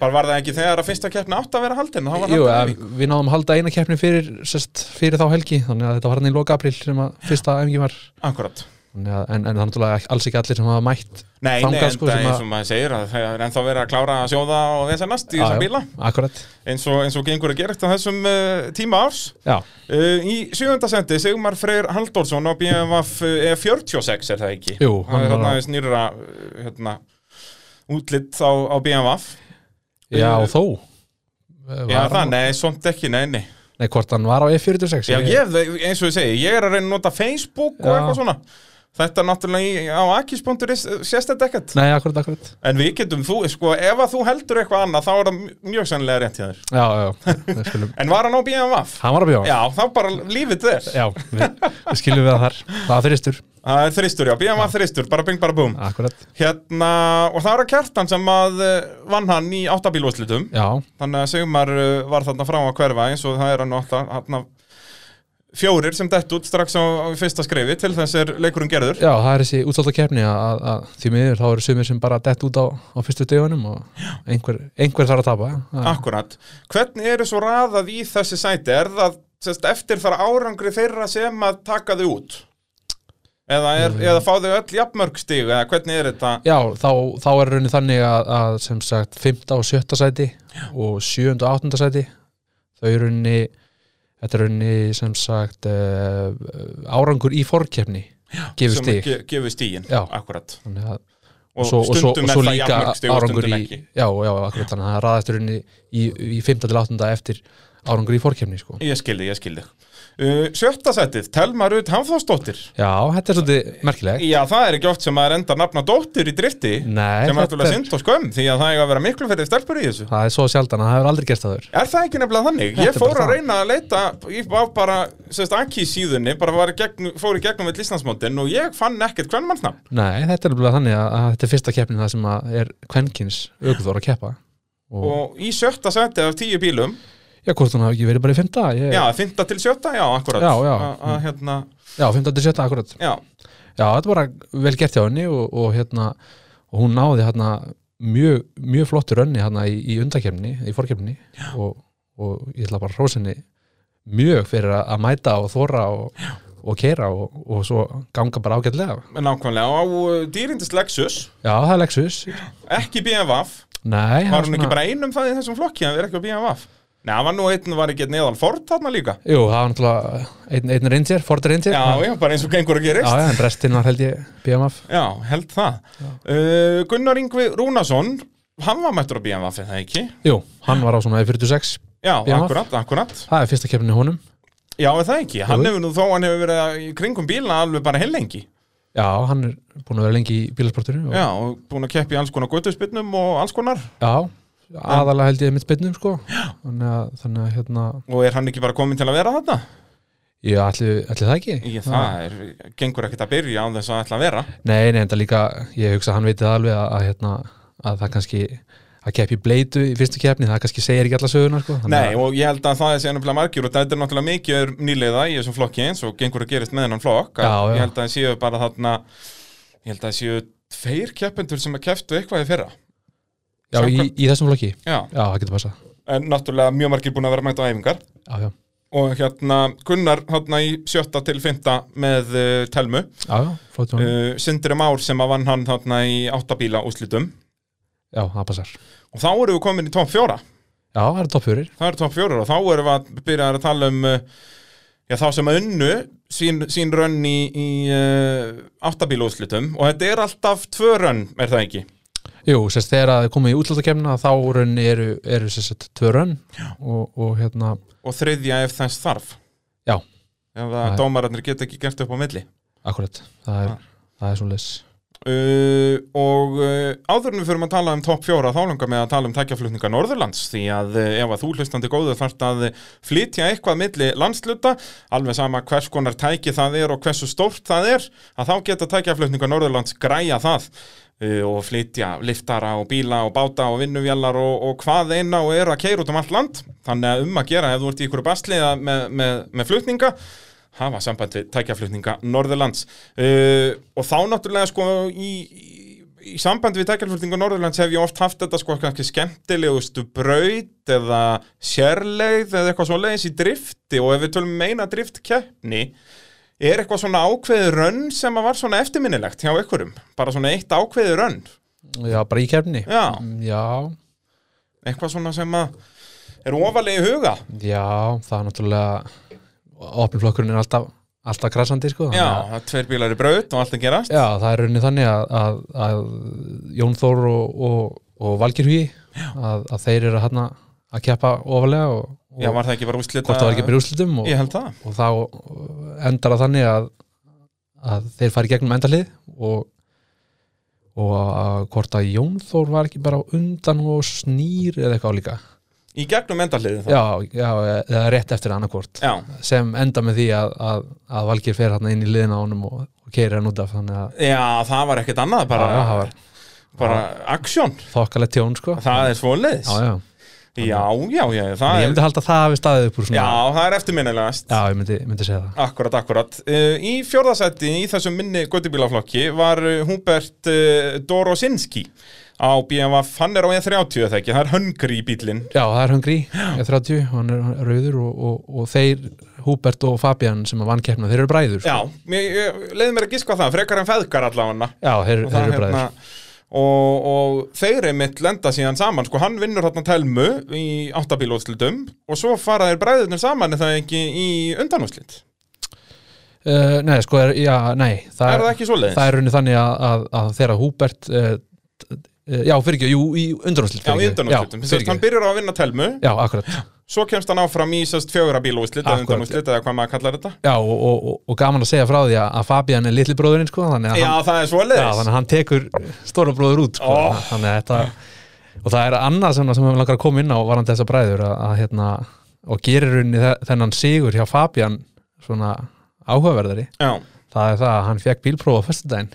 bara var það ekki þegar að fyrsta keppni átt að vera haldin þá var Jú, haldin að, æfing. við náðum að halda eina keppni fyrir, sest, fyrir þá helgi þannig að þetta var hann í loka april sem að fyrsta æfingi var Akkúrat. Þannig að- en, en það er náttúrulega ekki- alls ekki allir sem hafa mætt Nei, nei, Þangað, en sko, það sem er að- eins og maður segir að það er ennþá verið að klára að sjóða og vesenast í Já, þessum já, bíla akkurat eins og, eins og gengur að gera eftir þessum uh, tíma árs já, Uh, í sjöfunda sendi Sigmar Freyr Halldórsson á BMF E46 er það ekki? Jú, hann er hann var hérna á- aðeins nýra uh, hérna, útlitt á, á BMF já og þó Já það, nei, svont ekki, nei, nei nei, hvort hann var á E F46 Já, ég, eins og ég segi, ég er að reyna að nota Facebook og Já. eitthvað svona Þetta er náttúrulega í, á akis.is uh, sést þetta ekkert nei, akkurat, akkurat En við getum, þú, sko, ef að þú heldur eitthvað annað þá er það mj- mjög sannlega rétt hjá þér já, já, við skulum En var hann á BMF? hann var að bjóða Já, þá bara lífið þér já við, við skiljum við að þar það er þristur, Það er þristur, já, BMF þristur, bara bing bara búm akkurat Hérna, og það var að kjartan sem að eh, vann hann í áttabílúslitum já, Þannig að Sigmar eh, var þarna frá að hverfa eins og það er hann átta hann fjórir sem dett út strax á, á fyrsta skrefi til þess er leikurinn gerður já, það er þessi útsálda keppni að, að, að því miður þá eru sumir sem bara dett út á, á fyrstu dögunum og einhver, einhver þarf að tapa já, Akkurat, hvernig eru svo raðað í þessi sæti? Er það sérst, eftir þar árangri þeirra sem að taka þau út? Eða, er, Mm. eða fá þau öll jafnmörg stig eða hvernig er þetta? já þá, þá er raunin þannig að, að sem sagt 5. og 7. sæti og 7. og 8. sæti þau eru rauninni þetta er rauninni sem sagt uh, árangur í forkeppni gefur sem stig ge- gefur stígin, Já. akkurat þannig að og, svo, og svo, stundum og er svo það líka jafnmörg stig og árangur stundum í ekki já, já, akkurat þannig að það er raðasturinn í, í, í 5. til 8. eftir árangur í fórkefni sko. Ég skildi, ég skildi uh, Sjötta sætið, Telma Rut Hafþórsdóttir já, þetta er svolítið merkileg Já, það er ekki oft sem maður endar nafna dóttir í drifti Nei, sem er þetta náttúrulega er, synd og skömm því að það eiga að vera miklu fyrir stelpur í þessu það er svo sjaldan að það hefur aldrei gerst aður Er það ekki nefnilega þannig? Þetta Ég er fór að bara það. reyna að leita ég var bara, sérst, Aki síðunni bara var í gegn, fór í gegnum við Íslandsmótin og ég fann ekkert hvern mannsnafn nei, þetta er alveg þannig að, að þetta er fyrsta keppnin það sem að er kvenkins aukuþór að keppa og, og í sjötta sætið af tíu bílum já, hvort hún hafi ekki verið bara í 5. ég, Já, fynda til sjötta, já, akkurat Já, Mm. já. A, að, hérna, já 5. til 7. akkurat já. já, þetta er bara vel gert hjá henni og, og hérna, og hún náði hérna mjög, mjög flottur önni hérna í, í undakefni, í fórkefni og, og ég ætla bara hrósinni mjög fyrir að að mæta og þóra og, og keira og, og svo ganga bara ágætlega Nákvæmlega, á uh, dýrindist Lexus já, það er Lexus ekki BMF Nei, það Var er hún ekki bara einum það í þessum flokki hann er ekki á BMF? Nei, hann var nú einn var ekki neðan Ford þarna líka Jú, það var náttúrulega einn ein reyndsér, Ford reyndsér Já, já, bara eins og gengur að já, gerist já, en restin var held ég BMF Já, held það uh, Gunnar Yngvi Rúnason Hann var mættur á BMF, er það ekki? Jú, hann var á svona E E46 Já, BMF. akkurat, akkurat Það er fyrsta keppni honum Já, er það ekki? Hann Jú. hefur nú þó, hann hefur verið að- í kringum bíla alveg bara heilengi Já, hann er búin að vera lengi í bílasportinu og Já, og búin að keppa í alls konar götuspinnum og alls konar Já, aðalega held ég mitt byrnum sko þannig að, þannig að hérna Og er hann ekki bara komin til að vera þarna? ég ætli, ætli það ekki Ég, það er, gengur ekkert að byrja á þess að ætla að vera Nei, nei, en það líka, ég hugsa að hann viti það alveg að, að, hérna, að það kannski að keppi bleitu í fyrstu keppni það kannski segir ekki alla söguna sko þannig Nei, að, og ég held að það er sér nefnilega margir og þetta er náttúrulega mikið nýliða í þessum flokki eins og gengur að gerist með hennan flokk að Já, já. ég held að það séu bara þarna ég held að það séu tveir keppendur sem að keftu eitthvað í fyrra Já, í, í þessum flokki, já, Já, það getur passað en náttúrulega mjög margir búin að vera mætt á æfingar Já, já, og hérna Gunnar hérna í sjötta til fymta með uh, Telmu já, já, flott uh, uh, Sindri Már sem að vann hann þarna í áttabíla úslitum Já, það passar og þá erum við komin í top fjóra Já, það er topp fyrir Það eru topp fjórar og þá erum við að byrja að tala um uh, já, þá sem að unnu sín, sín rönn í, í uh, áttabílóðslutum og þetta er alltaf tvö rönn, er það ekki? Jú, sérst þegar að komið í útlátakefna þá raun eru, eru sérst tvö raun og, og hérna, Og þriðja ef þess þarf Já. Ef að Það- dómararnir geta ekki gert upp á milli Ah. akkurat það er, það er svo leys Uh, og uh, áður en við förum að tala um topp fjóra þá langar með að tala um tækjaflutninga Norðurlands því að uh, ef að þú hlustandi góðu þarft að uh, flytja eitthvað milli landsluta alveg sama hvers konar tæki það er og hversu stórt það er að þá geta tækjaflutninga Norðurlands græja það uh, og flytja liftara og bíla og báta og vinnuvjallar og, og hvað eina og er að keira út um allt land þannig að um að gera ef þú ert í ykkur basli að- með, með, með flutninga hafa samband við tækjaflutninga Norðurlands uh, og þá náttúrulega sko í, í, í samband við tækjaflutninga Norðurlands hef ég oft haft þetta sko kannski skemmtilegustu braut eða sérleið eða eitthvað svoleiðis í drifti og ef við tölum meina driftkeppni er eitthvað svona ákveði rönn sem að var svona eftirminnilegt hjá ykkurum bara svona eitt ákveði rönn já, bara í kefni Já. já, eitthvað svona sem að er ofalega í huga já, það er náttúrulega opnflokkurinn er alltaf, alltaf krassandi sko, þannig Já, að- það er tveir bílar í braut og allt að gerast já, það er rauninni þannig að, að, að Jón Þór og, og, og Valgir Hugi að, að þeir eru hann að keppa ofalega og, og Já, var það ekki bara úrslita hvort það var ekki byrja úrslitum og, Ég held það og þá endar það þannig að, að þeir fari gegnum endalið og, og að hvort að Jón Þór var ekki bara á undan og snýr eða eitthvað líka Í gegnum endaliðið það já, já, eða rétt eftir annarkvort Já. sem enda með því að, að, að Valgir fer hann inn í liðina á honum og, og keiri hann út af þannig að Já, það var ekkert annað, bara, Já, það var bara aksjón, þokkalegt tjón sko það er svoleiðis já, já. já, já, já, En það ég er myndi halda að það hafi staðið upp úr svona Já, það er eftirminnilegast já ég myndi, myndi segja það Akkurat, akkurat. Uh, í fjórðasætti í þessum minni göttubílaflokki var uh, Húbert uh, Dorosinski á BMF, hann er á E30 eða ekki, það er höngri í bílinn. Já, það er Hungry, 30, hann er hann er rauður og, og, og þeir, Húbert og Fabian sem að vann keppna, þeir eru bræður sko. Já, mér, ég, leiði mér að giska á það, frekar en feðgar allavega. Já, þeir, Og þeir það eru bræður hérna og, og þeir einmitt lenda síðan saman sko, hann vinnur hérna telmu í áttabílóðslutum og svo fara þeir bræðurnir saman er það ekki í undanúslit uh, Nei, sko, er, já, nei það er það ekki svoleiðis? Það er runni þannig að, að, að þeirra Húbert uh, uh, Já, fyrir ekki, jú, í undrunnslit Já, í undanúslitum, þess að hann byrjar á að vinna telmu Já, akkurat svo kemst hann áfram í sérst fjögra bílóðslit eða Akkúrat. undanúslit eða hvað maður kallar þetta Já, og, og, og, og gaman að segja frá því að, að Fabian er litli bróðurinn, sko þannig að Já, hann, það er já, svoleiðis þannig að hann tekur stóra bróður út sko, Oh. Þannig að þetta Og það er annað sem, sem við langar að koma inn á varandi þessa bræður að, að hérna og gerir runni þennan sigur hjá Fabian svona áhugaverðari Já. það er það að hann fekk bílpróf á föstudaginn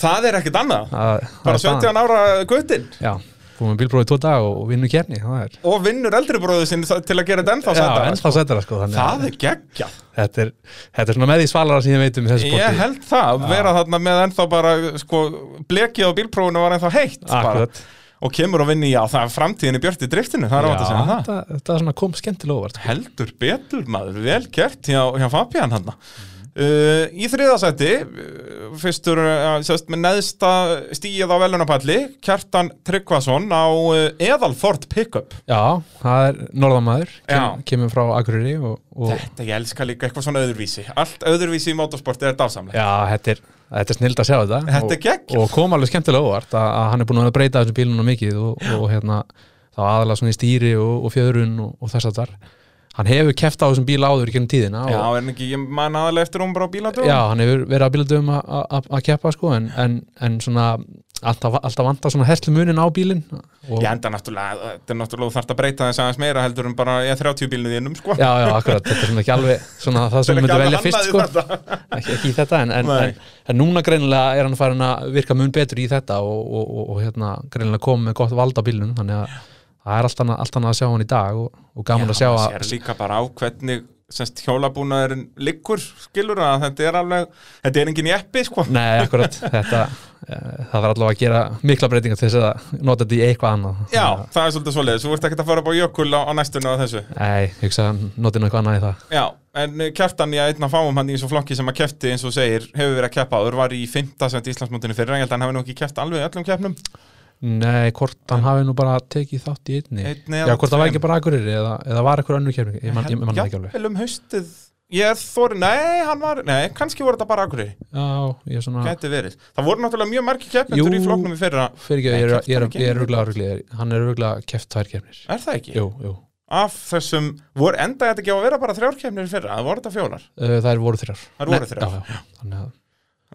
Það er ekkert annað Það- það bara er staðan. 17 ára guttinn Já, fórum við bílprófið tvo dag og, og vinnum kérni það er, og vinnur eldri bróðu sinni til að gera þetta ennþá já, sætara, en sko. þá setjar það sko þannig Það að er geggjað þetta er, þetta er svona með því svalara sem ég veit um í þessu sporti Ég held það, að vera þarna með ennþá bara sko, blekið á bílprófunu var ennþá heitt bara, Akkurat. og kemur og vinni, já það er framtíðin í björti driftinu, það er átt að segja það þetta, þetta er svona kom skemmtilega óvart heldur betur maður, vel kert hjá, hjá Fabian hann uh, í þriðasæti uh, fyrstur uh, sérst, með neðsta stíið á velunapalli, Kjartan Tryggvason á uh, Eðalford Pickup Já, það er norðamæður kem, Já. kemur frá Akureyri og, og þetta ég elska líka eitthvað svona öðurvísi allt öðurvísi í motorsporti er dásamlega já, þetta er, þetta er snild að sjá þetta Þetta og, er geggjað. og kom alveg skemmtilega óvart að, að hann er búin að vera að breyta þessum bílunum mikið og, og hérna, þá aðalega svona í stýri og, og fjöðrun og, og þess að þar hann hefur keft á þessum bíl áður í gennum tíðina já, og, en ekki, ég man aðalega eftir hún bara á bílandum Já, hann hefur verið að bíladöfum að- að að keppa sko, en, en, en svona alltaf, alltaf vantar svona herslu munin á bílinn og, Ég enda náttúrulega, þetta er náttúrulega þú þarft að breyta þess aðeins meira heldur en bara ég 30 bílinu þínum sko Já, já, akkurat, þetta er svona ekki alveg svona það Þetta er sem við ekki myndum velja alveg fyrst annað sko. í þetta. ekki, ekki í þetta en, en, Nei. en, en núna greinilega er hann farin að virka mun betur í þetta og, og, og, og hérna, greinilega komið með gott vald á bílnum þannig að það er allt annað, allt annað að sjá hann í dag og, og gaman að sjá maður að sér líka bara á hvernig semst hjólabúnaðurinn liggur skilur að þetta er alveg þetta er engin jeppi sko Nei, akkurat, þetta eh, það var allavega að gera mikla breytingar til þess að nota þetta í eitthvað annað Já, það er svolítið svoleiðis, þú ert ekkert að fara upp á jökul á, á næstunni á þessu Nei, ég hugsa að nota eitthvað annað í það Já, en eh, kjartan ég einna fáum hann í þessu flokki sem að kefti eins og segir hefur verið að keppa áður, var í 5. sent Íslandsmótinu fyrir en ég held að hann hafi nú ekki keppt alveg í öllum keppnum Nei, hvort hann hafi nú bara tekið þátt í einni, Einni Já, eða hvort það tveim. var ekki bara akureyri eða, eða var eitthvað önnur kefning Ég man, ég man það ekki alveg Jafnvel um haustið Ég er þorri, nei, hann var, nei, kannski voru þetta bara akkurir, Já, ég er svona gæti verið. Það voru náttúrulega mjög margir keppendur í Jú. flokknum í fyrra, Fyrir ekki, ég Nei, er- keppt ég er- hann ekki ég er einu ruglega ruglið Hann er ruglega keft tvær kefnir er það ekki? Jú, jú af þessum, voru enda þetta ekki á að vera bara þrjárkefnir í fyrra, það voru þetta fjórar Uh, Það voru þrjár Þær voru Nei, þrjár. Já, já, þannig að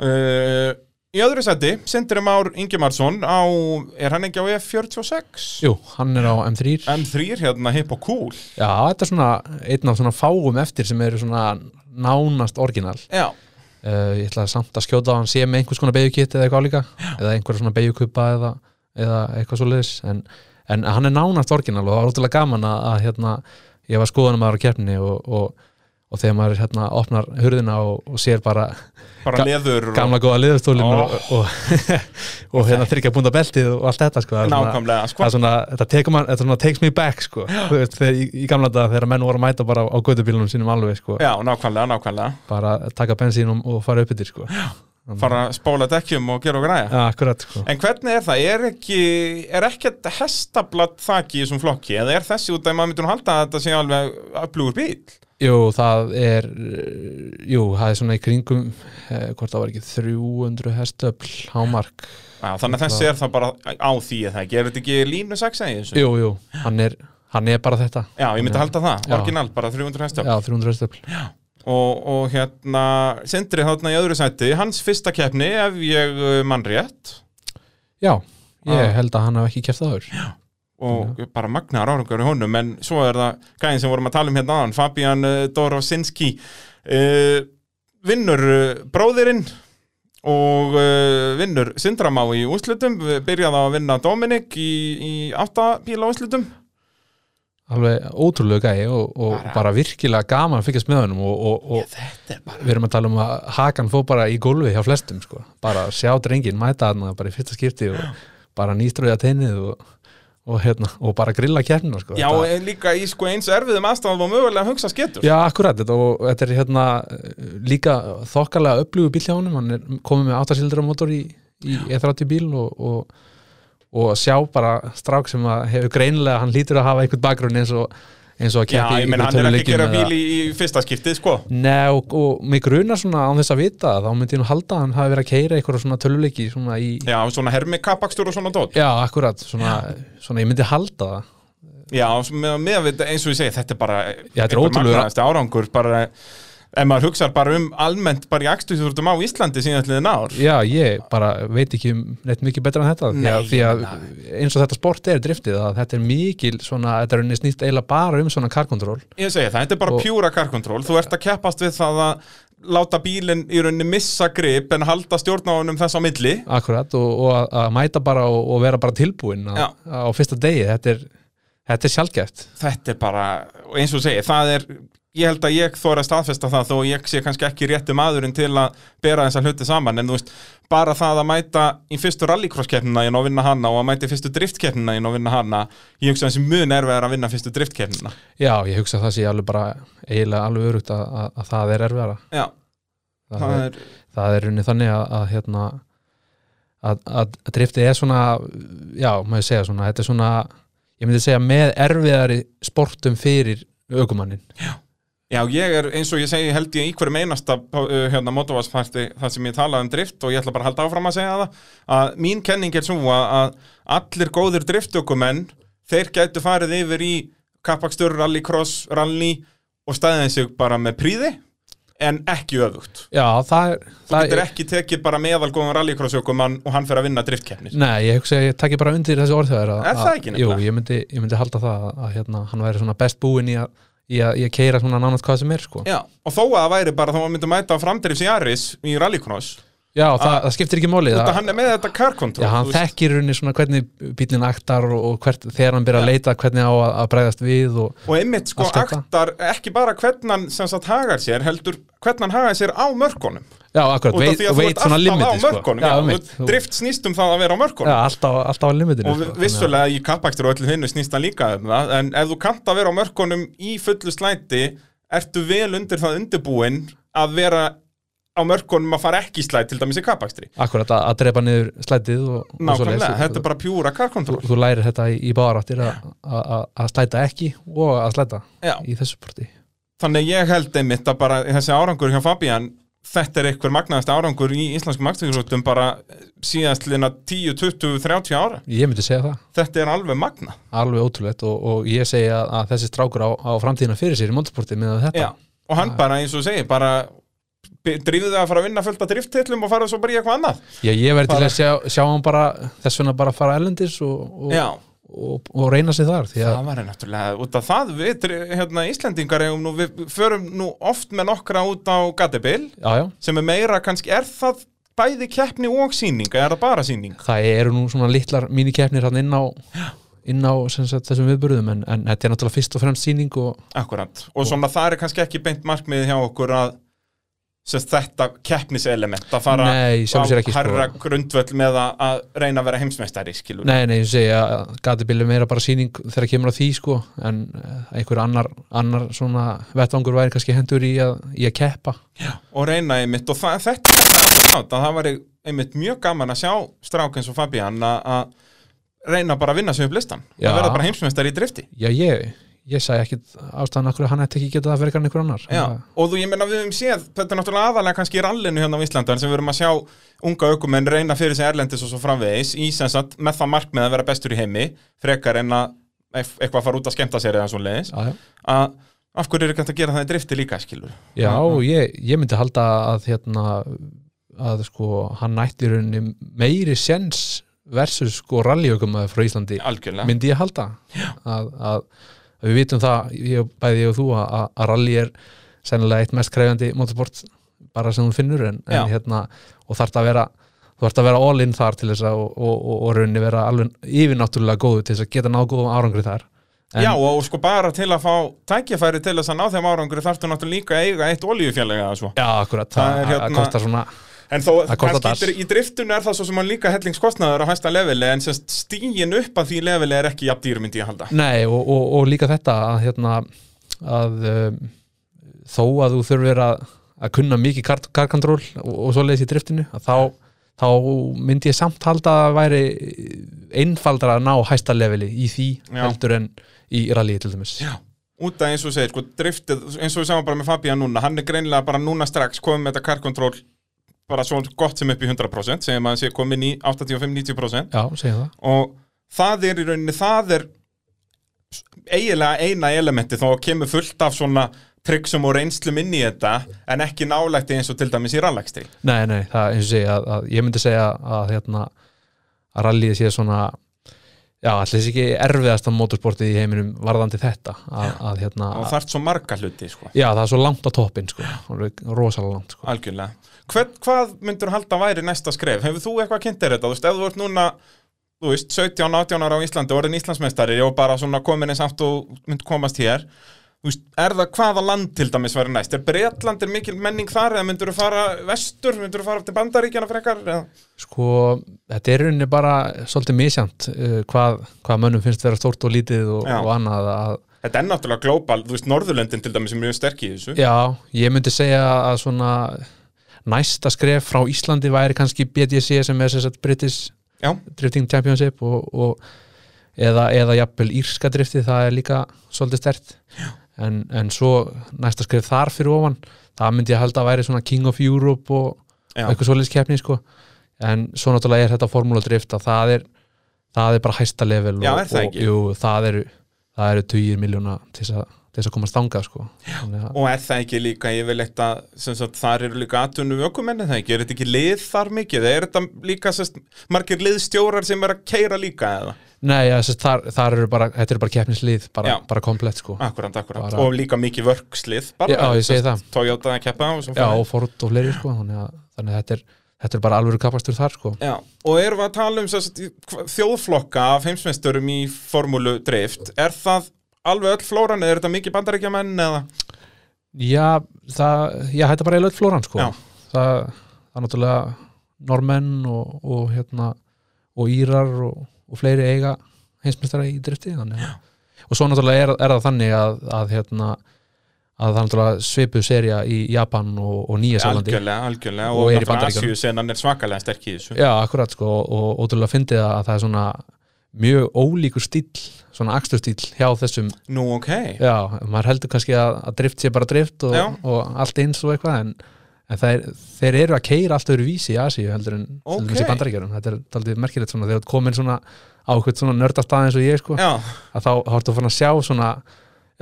uh, Í öðru seti, Sindri Már Ingimarsson á, er hann ekki á E F46? Jú, hann er á M3 M3 hérna, hip og cool. Já, þetta er svona einn af svona fáum eftir sem eru svona nánast orginal Já. uh, Ég ætla samt að skjóta á hann sé með einhvers konar beigjukit eða eitthvað líka eða einhverja svona beigjukupa eða, eða eitthvað svo leiðis en, en hann er nánast orginal og það var ótrúlega gaman að, að hérna, ég var skoðanum aðra á keppninni og, og, og þegar maður hérna opnar hurðina og, og sér bara Bara Ga- leður og gamla góða Ó. liðastólin og, og, og hérna þryggja búnda beltið og allt þetta sko, það er svona- nákvæmlega, það sko. er svona, þetta tekur man, þetta svona takes me back sko, þú veist, þegar, í, í gamla daga þegar menn voru að mæta bara á, á gödubílunum sínum alveg sko, Já, nákvæmlega, nákvæmlega. bara taka bensín og, og fara upp yfir sko, Fara að spóla dekkjum og gera og græja. akkurat sko. En hvernig er það? Er ekki, er ekkert hestablatt þaki í þessum flokki? Eða er þessi út að maður myndur halda að þetta sé alveg öflugur bíl? jú, það er eh, jú, það er svona í kringum eh, hvort það var ekki 300 hestöfl hámark, Já, þannig að þessi er það bara á því eða ekki. Er þetta ekki línu 6 eða í þessu? jú, jú hann er, hann er bara þetta Já, ég myndi halda það. Já. Orginal, bara 300 hestöfl. Já, 300 hestöfl og, og hérna Sindri þarna í öðru sæti, hans fyrsta keppni ef ég uh, mann rétt Já, Ah. ég held að hann hef ekki kæft það áður og bara magnaðar árangur í honum en svo er það gæðin sem vorum að tala um hérna aðan Fabian uh, Dorosinski uh, vinnur uh, bróðirinn og uh, vinnur Sindramá í úslutum byrjaði á að vinna Dominik í, í aftabíla úslutum alveg ótrúlega gæi og, og bara, virkilega gaman að fylgjast með honum og, og, og við erum að tala um að hakan fór bara í gólfi hjá flestum sko. bara sjá drengin, mæta hann bara í fyrsta skipti og bara nýströðja teinnið og, og, hérna, og bara grilla kjarnina sko. Já, Þetta- en líka í sko eins erfiðum aðstæðum og mögulega hugsa skettur Já, akkurat, þetta, og þetta er hérna eh, líka þokkalega upplugu bíl hjá honum, hann er komið með 8 sildra mótor í, í E30 bíl og, og, og að sjá bara strák sem að hefur greinilega, hann lítur að hafa einhvern bakgrunn eins og, eins og að keppa ég menn hann er ekki að gera bíl í, í fyrsta skiptið sko Nei og, og mig grunar svona án þess að vita það, þá myndi ég nú halda að hann hafi verið að keira eitthvað svona töluleiki svona í Já, svona hermi kapakstur og svona dót Já, akkurat, svona, svona ég myndi halda það Já, með, með að við, eins og ég segi, þetta er bara Já, þetta er einhver ótrúlegur- magnaðasti árangur bara, ef maður hugsar bara um almennt bara í akstuðsvörðum á Íslandi síðan allir ár Já, ég bara veit ekki um neitt mikið betra en þetta því Nei, að, því ég að eins og þetta sport er driftið að þetta er mikil svona, þetta er rauninni snýst eiginlega bara um svona karkontról Ég segi það, þetta er bara Og- pjúra karkontról þú ert að keppast við það að láta bílinn í rauninni missa grip en halda stjórnáunum þess á milli akkurat og, og að, að mæta bara og, og vera bara tilbúin Já. á, á fyrsta degi, þetta er, þetta er sjálfgæft þetta er bara, og eins og ég segi, það er ég held að ég þóra að staðfesta það þó ég sé kannski ekki rétti maðurinn til að bera þessa hluti saman, en þú veist bara það að mæta í fyrstu rallycross-keppnina og vinna hana og að mæta í fyrstu driftkeppnina og vinna hana, ég hugsa þessi mjög nervið að vinna fyrstu driftkeppnina Já, ég hugsa að það sé alveg bara eiginlega alveg örugt að, að, að það er erfiðara Já, það, það er, er, það er runni þannig að, að hérna að, að að driftið er svona já, maður segja svona, þetta er svona ég myndi segja með erfiðari sportum fyrir ökumannin já, ég er eins og ég segi held ég í hverjum einasta uh, hérna, motorvarsparti þar sem ég tala um drift og ég ætla bara að halda áfram að segja það að mín kenning er svo að, að allir góðir driftökumenn þeir gætu farið yfir í kappakstur, rallycross, rally og staðið sig bara með príði en ekki öfugt já, það er, Þú það getur ekki tekið bara meðalgóðan rallycrossökumann og hann fer að vinna driftkeppnir nei, ég hugsa að ég takki bara undir þessi orð þegar Er það ekki jú, nefnilega? ég myndi, ég myndi halda það að, að hérna, hann væri svona best búinn í að í að, í að keira svona nánast hvað sem er sko. já, Já, og þó að það væri bara þá að myndum mæta á framdrifs í Aris í rallycross það, það skiptir ekki máli Þetta það, hann er með þetta car control Já, hann þú veist. þekkir í rauninni svona hvernig bílinn aktar og, og hvert, þegar hann byrja að leita hvernig á að, að bregðast við og, og einmitt sko Allt þetta. aktar ekki bara hvernig hann sem sagt hagar sér heldur hvernig hann hagar sér á mörkunum Já, akkurat, út af veit, því að þú veit ert svona alltaf limiti á mörkunum já, já, já, þú- drift snýst um það að vera á mörkunum já, alltaf, alltaf á limitinu sko. og vi- vissulega í kappakstur og öllu hinnu snýst það líka um það en ef þú kannt að vera á mörkunum í fullu slæti ertu vel undir það undirbúin að vera á mörkunum að fara ekki í slæt til dæmis í kappakstri Akkurat að, að drepa niður slætið og, og Nákvæmlega, svoleiðis. þetta er bara pjúra car þú, control þú lærir þetta í, í baráttir að- að að- að slæta ekki og að slæta Já. í þessu porti Þannig ég held einmitt að bara þessi árangur hjá Fabian þetta er einhver magnaðast árangur í íslenskum akstuðsrútum bara síðast lina 10, 20, 30 ára Ég myndi segja það, þetta er alveg magna alveg ótrúlegt og, og ég segja að, að þessi strákur á, á framtíðina fyrir sér í motorsporti með þetta og hann bara eins og segir bara drifðu það að fara að vinna fullt að driftillum og fara svo bara í eitthvað annað Já, ég verði til Bara- að sjá, sjá hann bara þess vegna bara fara ellendis og, og, Já, og, og reyna sig þar því að það var náttúrulega út af það við dri- hérna, Íslendingar eigum nú, við förum nú oft með nokkra út á Gatibil já, já, sem er meira kannski, er það bæði keppni og sýning, eða er það bara sýning? það eru nú svona litlar mínikeppnir hann inn á, inn á sem sagt, þessum viðburðum en, en þetta er náttúrulega fyrst og fremst sýning og Akkurat, og svona það er kannski ekki beint markmið hjá okkur að sem sagt, þetta keppniselement að fara Nei, í sjálfu sér ekki, sko. harra grundvöll með að, að reyna að vera heimsmeistari skilur Nei, nei, ég segja að gatibil er meira bara sýning þegar kemur að því sko en eh, einhver annar, annar svona vettvangur væri kannski hendur í að, í að keppa og reyna einmitt og það, þetta er alveg klátt að það var einmitt mjög gaman að sjá strák eins og Fabian að- að reyna bara að vinna sig upp listan Já. að verða bara heimsmeistari í drifti Já, ég, ég sagði ekkit ástæðan akkur hann ætti ekki getað það fyrir einhver annar Já, En það- og þú, ég meina við höfum séð, þetta er náttúrulega aðalega kannski í rallinu hérna á Íslandan sem við erum að sjá unga aukumenn reyna fyrir sig erlendis og svo framvegis í sem sagt með það markmið að vera bestur í heimi frekar en að ef- eitthvað fara út að skemmta sér eða svo leiðis Já, já, að af hverju er ekki hægt að gera það í drifti líka skilur já og ég, ég myndi halda að hérna að sko hann nætti í rauninni meiri sens versus sko rallyökum frá Íslandi algjörlega myndi ég halda að, að, að við vitum það ég, bæði ég og þú að, að- að rally er sennilega eitt mest krefjandi motorsport bara sem hún finnur en, Já. en hérna, og þarf að vera þú ert að vera all in þar til þess að og, og, og, og rauninni vera alveg yfirnáttúrulega góðu til þess að geta náð góðum árangri þar en, Já og sko bara til að fá tækifæri til þess að ná þeim árangri þarftu náttúrulega líka að eiga eitt olíufjallega eða svo já akkurat, Það það, er það, hérna- kostar svona En þó Það kostar kannski dass. í driftun er það svo sem hann líka hellingskostnaður á hæsta leveli en sem stígin upp að því leveli er ekki jafn dýr myndi ég halda Nei, og, og, og líka þetta að, hérna, að um, þó að þú þurfir að, að kunna mikið kar- karkantról og, og svoleiðis í driftinu að þá, þá myndi ég samt halda að það væri einfaldara að ná hæsta leveli í því Já. heldur en í rallyi til dæmis Já. út af eins og þú segir, sko, driftið eins og við sáum bara með Fabian núna, hann er greinilega bara núna strax komið með þetta karkontról bara svo gott sem upp í 100% segjum að hann sé komin í 85-90% Já, segja það og það er í rauninni, það er eiginlega eina elementi þá kemur fullt af svona tryggsum og reynslum inn í þetta en ekki nálægt eins og til dæmis í rannlægstri Nei, nei, það er eins og segja að, að ég myndi segja að, hérna, að rallyið sé svona já, allir þessi ekki erfiðasta motorsportið í heiminum varðandi þetta að, að, hérna, og það er svo marga hluti sko. Já, það er svo langt á toppin sko. Alveg rosalega langt sko. Algjörlega. Hver, hvað myndur halda væri næsta skref? Hefur þú eitthvað kynnt þér þetta? Þú veist, ef þú ert núna, þú veist, 17, 18 ára á Íslandi, orðin Íslandsmeistari og bara svona komin eins aftur og mynd komast hér, þú veist, er það hvaða land til dæmis væri næst? Er Breitland, er mikil menning þar eða myndur þú fara vestur, myndur þú fara til Bandaríkjana frekar? Eða? sko, þetta er í rauninni bara svolítið misjant uh, hvað, hvað mönnum finnst vera stórt og lítið og, Já. og annað að, Þetta er náttúrulega glóbal, þú veist, Norðurlöndin til dæmis er mjög sterk í þessu. já, ég myndi segja að svona næsta skref frá Íslandi væri kannski BDC E sem er sérst British Já. Drifting Championship og, og eða, eða jafnvel írska drifti það er líka svolítið stert en, en svo næsta skref þar fyrir ofan það myndi ég halda að væri svona King of Europe og, Já. eitthvað svoleiðis keppni sko. en svo náttúrulega er þetta formúladrift að það er, það er bara hæsta level Já, og, er það og ekki? jú, það eru, það eru tugir miljóna til þess að, til þess að komast þangað sko. Þannig að- Og er það ekki líka yfirleitt að sem sagt, þar eru líka atvinnum ökumenni það ekki? Er þetta ekki lið þar mikið? Eða Er þetta líka sem sagt, margir liðstjórar sem er að keira líka eða? Nei, ja, sérst, þar, þar eru bara, þetta eru bara keppnislið bara, Já. Ah, bara komplett sko. Akkurant, akkurant. Bara- Og líka mikið vörkslið bara. Já, ég segi sem sagt, Toyota að keppa og svo Já, og framvegis. Ford og fleiri sko. þannig, að, þannig að þetta er, þetta er bara alveg kapastur þar sko. Já, og erum við að tala um sem sagt, í- hva- þjóðflokka af heimsmeisturum í formúlu drift. Er það alveg öll flóran eða er þetta mikið bandaríkjamenn eða? Já, það, já, þetta er bara eiginlega flóran sko. Já. það, það er náttúrulega normenn og, og, hérna, og írar og, og fleiri eiga heimsmeistara í drifti þannig að- og svo náttúrulega er, er það þannig að, að, hérna, að það er náttúrulega svipuð serja í Japan og, og Nýja Sjálandi Algjörlega, algjörlega. Og, Og er í og náttúrulega Bandaríkjunum. Asíu senan er svakalega sterk í þessu. Já, akkurat sko og ótrúlega fyndið að það er svona mjög ólíkur stíll svona akstursstíll hjá þessum Nú, ok. Já, maður heldur kannski að, að drift sé bara drift og, Já. og allt eins og eitthvað en, en þeir, þeir eru að keira allt öðru vísi í Asíu heldur en Ok. heldur í bandaríkjörum, þetta er daldið merkilegt svona þegar þú ert komin svona á hvern svona nördastað eins og ég sko, Já, að þá þá ertu að fara að sjá svona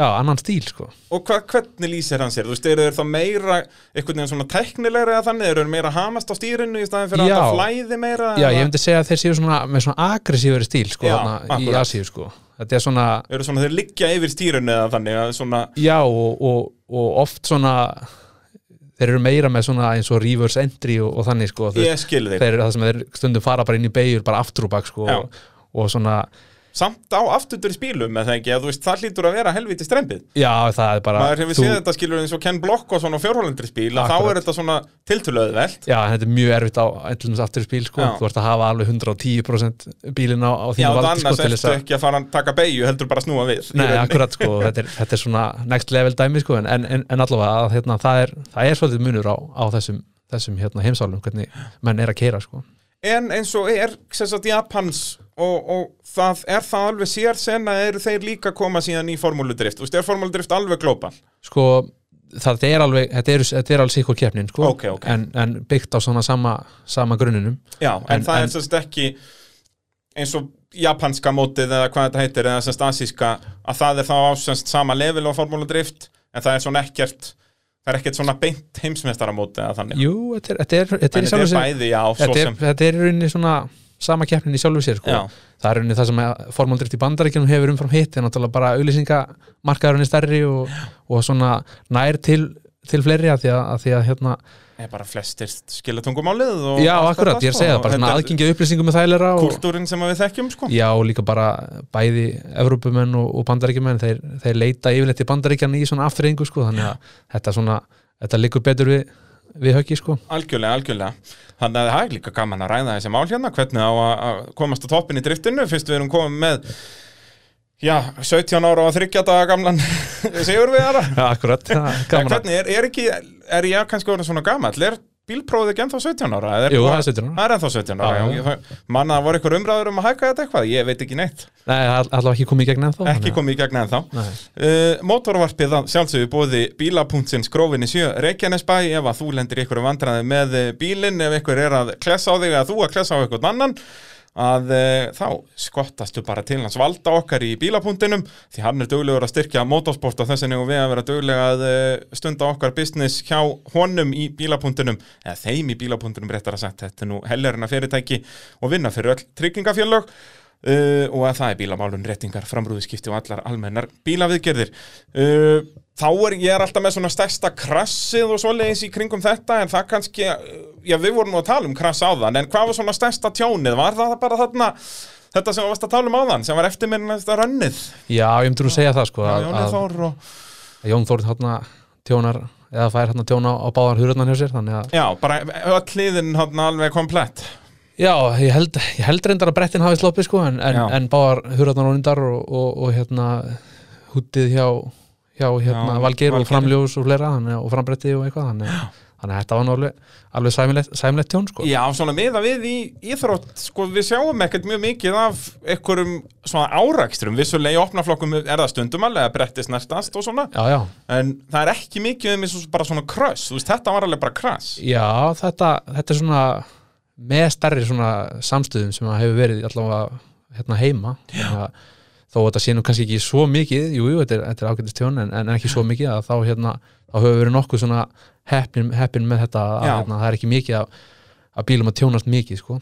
já, annan stíl sko Og hva, hvernig lýsir hann sér? Þú veist, eru þeir þá meira einhvern veginn svona teknilegra eða þannig? Eru þeir meira hamast á stýrinu í staðin fyrir Já. að það flæði meira? Já, ég eða? myndi segja að þeir séu svona með svona agressífari stíl sko, Já, þarna, í akkurat. Asíu sko Þetta er svona, Eru svona þeir liggja yfir stýrinu eða þannig að svona já og, og, og oft svona þeir eru meira með svona eins og reverse entry og, og þannig sko þeir, ég skil þeir þeir eru það sem þeir stundum fara bara inn í beigur bara aftur og bak sko Já. og, og svona, Samt á afturdur spílum eða ekki að þú veist, það hlýtur að vera helviti strempið já það er bara Maður hefur séð þetta skilur eins og Ken Block og svona fjórhólendri spíl að þá er Akkurat. þetta svona tiltöluðvelt Já, þetta er mjög erfitt á ætlum aftur í bíl sko, Já. þú ert að hafa alveg 110% bílinn á, á Já, þínu það valdi sko annars til þess ertu að ekki að fara að taka beigju heldur bara að snúa við í Nei, rauninni. akkurat sko, þetta er, þetta er svona next level dæmi sko, en, en, en allavega að, hérna, það, er, það er svolítið munur á, á þessum, þessum hérna, heimsálum, hvernig menn er að keira sko. En eins og er sem sagt, Japans og, og það er það alveg sér sen að eru þeir líka að koma síðan í formúludrift Þú veist, er formúludrift alveg glóbal? sko það er alveg, þetta er, þetta er alveg sikkur keppnin sko, Ok, ok. En, en byggt á svona sama, sama grunninum Já, en, En- það en- er sem sagt ekki eins og japanska mótið eða hvað þetta heitir eða sem sagt asíska að það er þá ásens sama level á formúludrift en það er svona ekkert það er ekkert svona beint heimsmeistaramótið eða þannig Jú, þetta er, þetta er, En þetta er, í þetta sjálfu er sér- bæði, já, svo þetta er, sem þetta er í rauninni svona sama keppnin í sjálfu sér sko. Já. það er í rauninni það sem formaldrift í bandaríkjunum hefur umfram hitt en náttúrulega bara auðlýsingamarkaðurinn er stærri og, og svona nær til, til fleiri að því að, að, því að hérna, er bara flestir skilatungumálið og já allt akkurat, þetta, ég er að segja sko. það, bara svona Þetta er aðgengi að upplýsingum með þælera og, Kúltúrin sem að við þekkjum sko já og líka bara bæði Evrópumenn og, og bandaríkjumenn þeir, þeir leita yfirleitt til bandaríkjan í svona afturrengu sko, þannig að þetta svona þetta liggur betur við, við höggi sko. Algjörlega, algjörlega. Þannig að það er líka gaman að ræða þessi mál hérna, hvernig á að- að komast á toppin í driftinu, fyrst við erum komið með já, 17 ára og 30 daga gamlan sigur við þara. já akkurat, það er gaman að- Hvernig er, er ekki, er ég kannski orðin svona gamall, er bílprófið ekki ennþá 17 ára? Eða Er, Jú, það er 17 ára. Það er ennþá 17 ára, Já, já. já. já. ég- Man að það voru ykkur umræður um að hækka þetta eitthvað, ég veit ekki neitt. Nei, það er allavega ekki komið í gegn ennþá Ekki komið í gegn ennþá. Nei. Uh, mótorvarpið að sjálfsögðu bóði bíla.sins grófinni sjö Reykjanesbæ ef að þú lendir ykkur vandræði með eh, bílinn ef ykkur er að klessa á þig eða þú að klessa á ykkur annan að uh, þá skottastu bara til hans valda okkar í bílapunktinum því hann er duglegur að styrkja motorsport og þessinni og við að vera duglega að eh, stunda okkar business hjá honum í bílapunktinum eða þeim í bílapunktinum réttar að setja þetta er nú hellerina fyrirtæki og vinna fyrir öll tryggingafjörlög uh, og að það er bílamálun, réttingar, framrúðiskipti og allar almennar bílaviðgerðir. Uh, þá er ég er alltaf með svona stærsta krassið og svoleiðis í kringum þetta en það kannski, uh, já við vorum nú að tala um krass áðan en hvað var svona stærsta tjónið? Var það bara þarna, þetta sem þú varst að tala um áðan sem var eftirminnasta rönnið? Já, ég myndur að segja það sko Já, að, Jóni að, Þór og... að Jón Þór hérna tjónar eða fær hérna tjóna á báðar hurðarnar hjá sér þannig að, Já, bara öll liðin hann alveg komplett. já, ég held, ég held reyndar að brettin hafi sloppið sko en, en, Já. en báðar hurðarnar ónindar og, og, og hérna húttið hjá, hjá hérna Já, Valgeir Valgeir. og framljós og fleira þannig, að- og frambretti og eitthvað þannig, að- þannig að þetta var nú alveg, alveg sæmilegt, sæmilegt tjón sko Já, svona miða við í íþrótt, sko, við sjáum ekkert mjög mikið af einhverjum svona árakstrum, vissulega í opnaflokkum er það stundum alveg að bretti snertast og svona, Já, já, en það er ekki mikið um eins og bara svona kröss, þú veist, þetta var alveg bara kröss. já þetta, þetta er svona með stærri svona samstöðum sem að hefur verið allavega hérna heima Þannig að þó að þetta sé nú kannski ekki svo mikið jú, jú, þetta er, þetta er ágætist tjón en, en ekki svo mikið að þá hérna, þá hefur verið nokkuð svona heppin, heppin með þetta að Já. hérna, það er ekki mikið að, að bílum að tjónast mikið sko.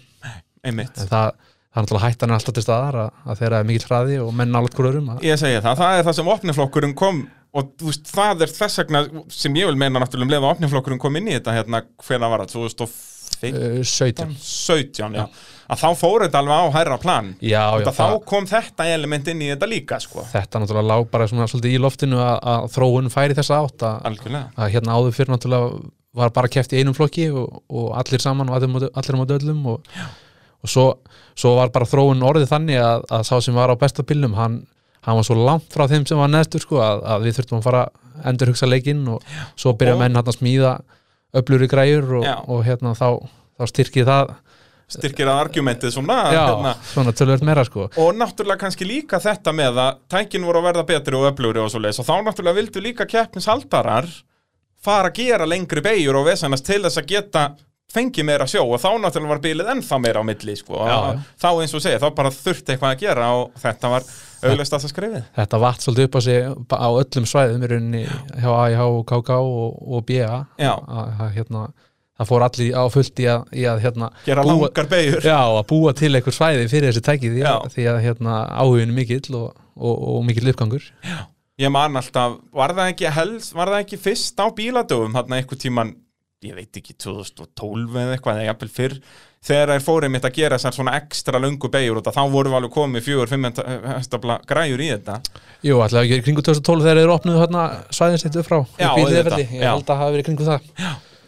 Einmitt. en það, það er náttúrulega hættan er alltaf til staðar að, að þeirra er mikill hraði og menn nálægt hverjum að Ég segi það, það er það sem opnaflokkurinn kom og þú veist, það er þess vegna sem ég vil meina náttúrulega um leið að opnaflokkurinn kom inn í þetta hérna, hvernig var það, 2017, uh, 17 já, að þá fór þetta alveg á hærra plan. já, já, Þetta, þá kom þetta element inn í þetta líka, sko. þetta náttúrulega lág bara svona svolítið í loftinu að, að þróun færi þessa átt að, Algjörlega. að hérna áður fyrir náttúrulega var bara keft í einum flokki og, og allir saman og allir, á móti- allir á móti öllum og, og svo, svo var bara þróun orðið þannig að, að sá sem var á besta bílnum hann, hann var svo langt frá þeim sem var neðstur sko, að, að við þurftum að fara að endur hugsa leikinn og svo byrja Og- menn hann að smíða öflur í græjur og, Já. og hérna þá, þá styrkið það styrkir að argumentið svona já, hérna. svona tölvöld meira sko og náttúrulega kannski líka þetta með að tækin voru að verða betri og öflugri og svo og þá náttúrulega vildu líka keppnishaldarar fara að gera lengri beigur og vesennast til þess að geta fengið meira sjó og þá náttúrulega var bílið ennþá meira á milli sko. Já, já. Og þá eins og segja, þá bara þurfti eitthvað að gera og þetta var auðvitað að það skrifið Þetta vatt svolítið upp á sig á öllum svæðum í rauninni hjá AIH og KK og, og BA Já. að, að, hérna, það fór allir á fullt í að, í að hérna, gera búa- langar beigur Já, að búa til einhver svæði fyrir þessi tæki því að, Já. því að hérna, áhugin er mikill og, og, og mikill uppgangur ég man alltaf, var það ekki helst var það ekki fyrst á bíladöfum þarna einhver tíman, ég veit ekki 2012 eða eitthvað, eða jafnvel fyrr þegar þær fórum mitt að gera þessar svona ekstra löngu beigur og þá vorum við alveg komið fjögur, fimm hestafla græjur í þetta Jú, alltaf ekki kringu 2012 þegar þeir opnuðu hérna, svæðin sitt upp frá upp í Já, auðvitað, Hliðarfjalli. Ég já. held að það hafi verið kringu það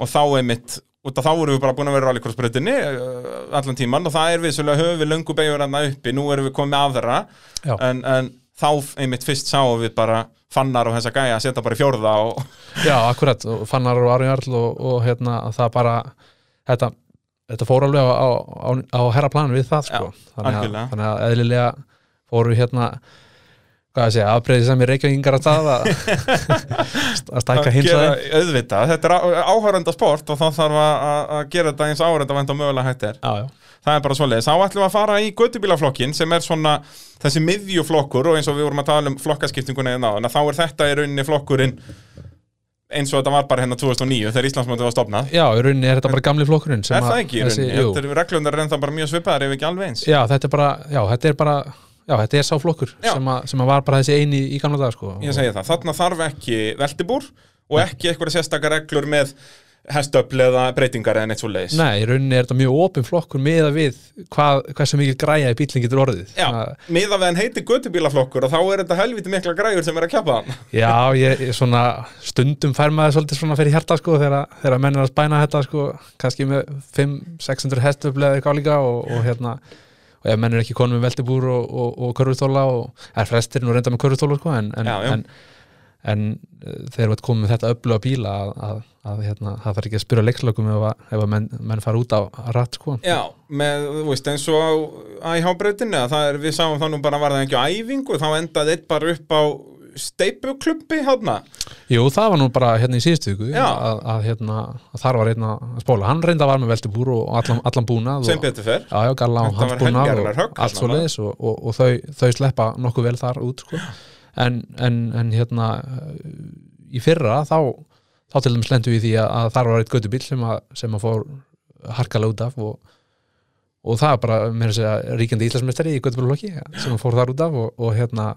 og þá er mitt út af þá vorum við bara búin að vera rallycrossbreytinni allan tíman og það er við svolítið höfum við löngu beigur hann uppi, nú erum við komið með aðra Já. en, en þá einmitt fyrst sáum við bara fannar og þessa gæja að setja bara í fjórða og Já, akkurat, og Fannar og Ari Jarl og, og hérna, það bara þetta, þetta fór alveg á, á, á, á herra plan við það, sko þannig, algjörlega. að, þannig að eðlilega fóru hérna hvað að segja, afbreyði sem í Reykjavíkingar að staða að að stækka hinsæðin auðvitað, þetta er áhörenda sport og þá þarf að, að- að gera þetta eins áhörenda vænt og mögulega hægt er Já, já, það er bara svoleiðis, þá ætlum við að fara í göttubílaflokkin sem er svona þessi miðjuflokkur og eins og við vorum að tala um flokkaskiptinguna eða náðan, þá er þetta í rauninni flokkurinn eins og þetta var bara hérna 2009 þegar Íslandsmöndið var stopnað já, í rauninni er þetta bara gamli flokkurinn sem Er það að- ekki í þessi- rauninni? jú. Þetta eru reglundar reynda bara mjög svipaðar ef ekki alveg eins Já, þetta er bara, já, þetta er bara já, þetta er sá flokkur Já. sem, að, sem að var bara þessi eini í gamla dag, sko Ég segi það, þarna þarf ekki veltibúr og ekki eitthvað sérstakar reglur með hestöfl eða breytingar eða neitt svo leiðis Nei, í rauninni er þetta mjög opin flokkur með að við hvað, hversu mikil græja í bílinn getur orðið Já, Þannig að- miða við hann heiti göttubílaflokkur og þá er þetta helviti mikla græjur sem er að keppa hann Já, ég, ég svona stundum fær maður svolítið svona fyrir hjarta sko þegar, þegar menn er að spæna þetta sko kannski með 5-600 hestöfli eða eitthvað líka og, og hérna og ef menn er ekki konum með veltibúr og, og, og körfustóla og er frestir nú reynda með körfustóla sko en, en, Já, já. en, en eh, þegar við komum með þetta öfluga bíla að, að, að hérna, það þarf ekki að spyrja leikslökum ef að, ef að menn, menn fara út á rætt sko Já, með, þú veist, eins og á IH-brautinu, að það er, við sáum það nú bara var það ekki á æfingu, þá endaði eitt bara upp á hérna, steipuklubbi hátna Jú, það var nú bara hérna í síðustu viku Já. að, að, hérna, að þar var hérna að spóla hann reynda var með veltibúr og allan, allan búnað sem og, betur fer Já, já, Galla og Þetta var Hansbúna helgarinnar og högg þarna, allt sko. svo leiðis og, og, og þau, þau sleppa nokkuð vel þar út sko. en, en, en hérna eh, í fyrra þá, þá til dæmis lendu við í því að, að þar var eitt göttubíl sem, að, sem að fór harkalega út af og, og það er bara meira að segja ríkjandi íslensmestari í göttubílflokki sem að fór þar út af og, og hérna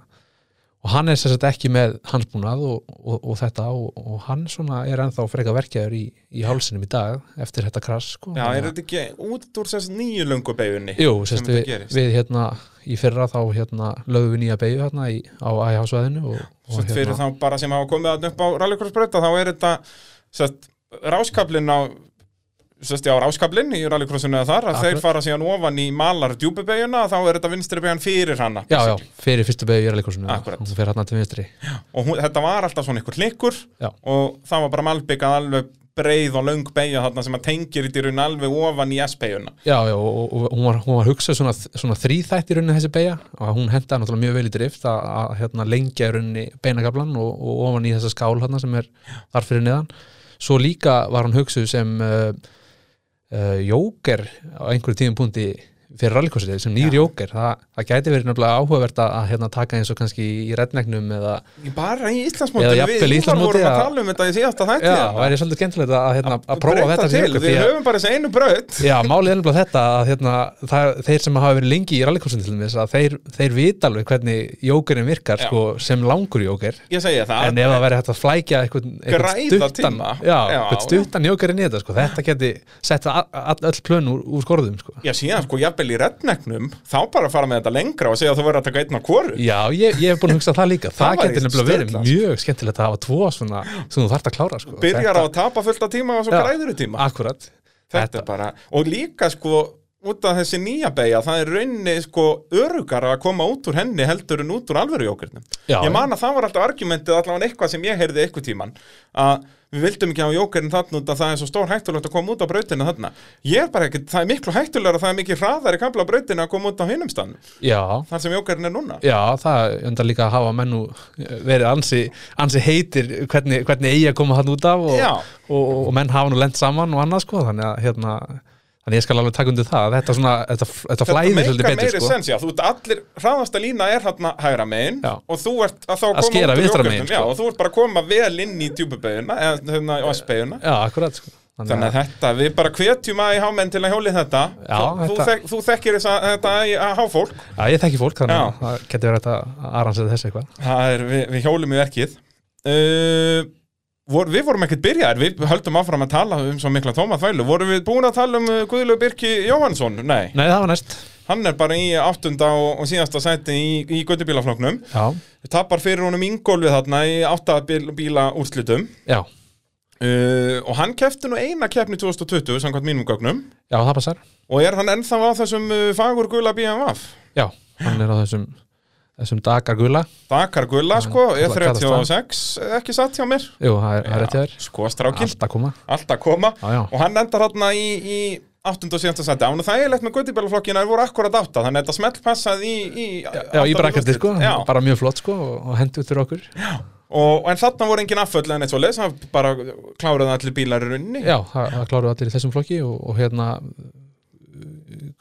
og hann er sem sagt ekki með hansbúnað og, og, og þetta og, og hann svona er ennþá freka verkjaður í, í hálsinum í dag eftir þetta krass sko. Já, Þannig er að- þetta ekki út úr sérst nýju löngu beigunni Jú, sérst, þetta við, gerist. við hérna í fyrra þá hérna lögum við nýja beigju hérna í, á æhásvæðinu og, og hérna. Sett fyrir þá bara sem hafa komið að upp á rallycrossbreyta þá er þetta sett, ráskablin á sett, já, ráskablin í rallycrossinu eða þar að Akkurat. þeir fara síðan ofan í malar djúpubeguna þá er þetta vinstri beigjan fyrir hana Já, já, fyrir fyrstu beigju í erleikursinu Akkurat. og fyrir hérna til vinstri og hún, þetta var alltaf svona ykkur hlikkur Já. og það var bara malbyggað alveg breið og löng beigja þarna sem að tengir í raun alveg ofan í S-beiguna Já, já, og, og, og hún, var, hún var hugsað svona, svona þríþætt í rauninni þessi beigja og hún hendaði náttúrulega mjög vel í drift að, að hérna, lengja í rauninni beinagablan og, og ofan í þessa skál hérna sem er þar fyrir neðan Svo líka var hún hugsuð sem uh, uh, jóker á einhverju tíðum púnti fyrir rallikursið sem nýr jóker, það, það gæti verið nefnilega áhugavert að, að hérna, taka eins og kannski í rednegnum eða bara í Eða Íslandsmóti jafnvel í Íslandsmóti, vorum að já. tala um þetta í síðasta þætti Já, hérna. það væri svolítið skemmtilegt að, hérna, að prófa Breyta þetta sem til, ykkur, við því að- höfum bara þessi einu braut Já, málið er nefnilega þetta að hérna, það, þeir sem hafa verið lengi í rallikursinu til þess að þeir, þeir vita alveg hvernig jókerinn virkar Já. sko, sem langur jóker ég segja það en ef það væri hægt að flækja eitthvað, eitthvað Græða stuttan, tíma. já, Já, eitthvað já. stuttan jókerinn í þetta sko. þetta geti sett a- a- öll plön úr, úr skorðum sko. Já, síðan sko, jafnvel í rednegnum, þá bara fara með þetta lengra og segja að þú verður að taka einn á kvoru. Já, ég, ég hef búin að hugsa það líka Það það, væri geti nefnilega verið sturlað, sko. mjög skemmtilegt að hafa tvo svona sem þú þarft að klára sko. Byrjar á að tapa fullt af tíma og svo Já. græður í tíma. Akkurat Þetta, er bara, og líka sko, út af þessi nýja beigja, það er raunni sko örugara að koma út úr henni heldur en út úr alvöru jókurnum. Já, Ég já. man að það var alltaf argumentið allavega eitthvað sem ég heyrði eitthvað tíman, að við vildum ekki hafa jókurinn þarna út að það er svo stór hættulegt að koma út á brautinu þarna. Ég er bara ekki, það er miklu hættulegur að það er mikið hraðar í kamla brautinu að koma út á hinum stann, Já, þar sem jókurinn er núna. Já, það undar líka að hafa menn nú eh, verið ansi, ansi heitir hvernig, hvernig eigi að koma hann út af og, Já. og, og, menn hafa nú lent saman og annað sko, þannig að hérna, þannig ég skal alveg taka undir það þetta, svona, þetta, þetta flæðir meikar svolítið betur meiri sko. sens, já, þú ert allir hraðasta lína er hérna hægra megin Já. og þú ert að þá koma út skera úr vinstra jógurtum, megin, já, sko. og þú ert bara að koma vel inn í djúpubegina eða hérna á S-begina já, akkurat sko. Þannig að þetta, við bara hvetjum að í hámenn til að hjólið þetta Já, Þú, þú, þetta- þek, þú þekkir þess að þetta í að háfólk Já, ég þekki fólk, þannig Já. að það getur verið hægt að aransið þessi eitthvað. Það er, við, við hjólum í verkið uh, vor, Við vorum ekkert byrjaðir, við höldum áfram að tala um svo mikla tómaþvælu Vorum við búin að tala um uh, Guðlaug Birki Jóhansson? Nei, Nei, það var næst. hann er bara í áttunda og, og síðasta sæti í, í göttubílafloknum Já, Tapar fyrir honum Ingólfið þarna í áttabíla úrslitum já, uh, Og hann kefti nú eina keppni 2020, samkvæmt mínum gögnum já, það passar. Og er hann ennþá á þessum uh, fagur gula BMF? Já, hann er á þessum, þessum dagar gula. Dakar gula sko, Hann kallast E36, eh, ekki satt hjá mér? Jú, það er, það er rétt hjá þér. Sko strákinn, Allt að koma. alltaf koma Já, já. Og hann endar hérna í, í 8. og 7. seti Án og það er leitt með Gautibælaflokkina, þeir voru akkurat átta Þannig að þetta smellpassaði í, í Já, í brakandi, sko. Já, Bara mjög flott, sko, og, og hendi út fyrir okkur. og, en þarna voru engin afföll en eitt svo leys Það bara kláraði allir bílar í runni Já, það, það kláruðu allir í þessum flokki og, og hérna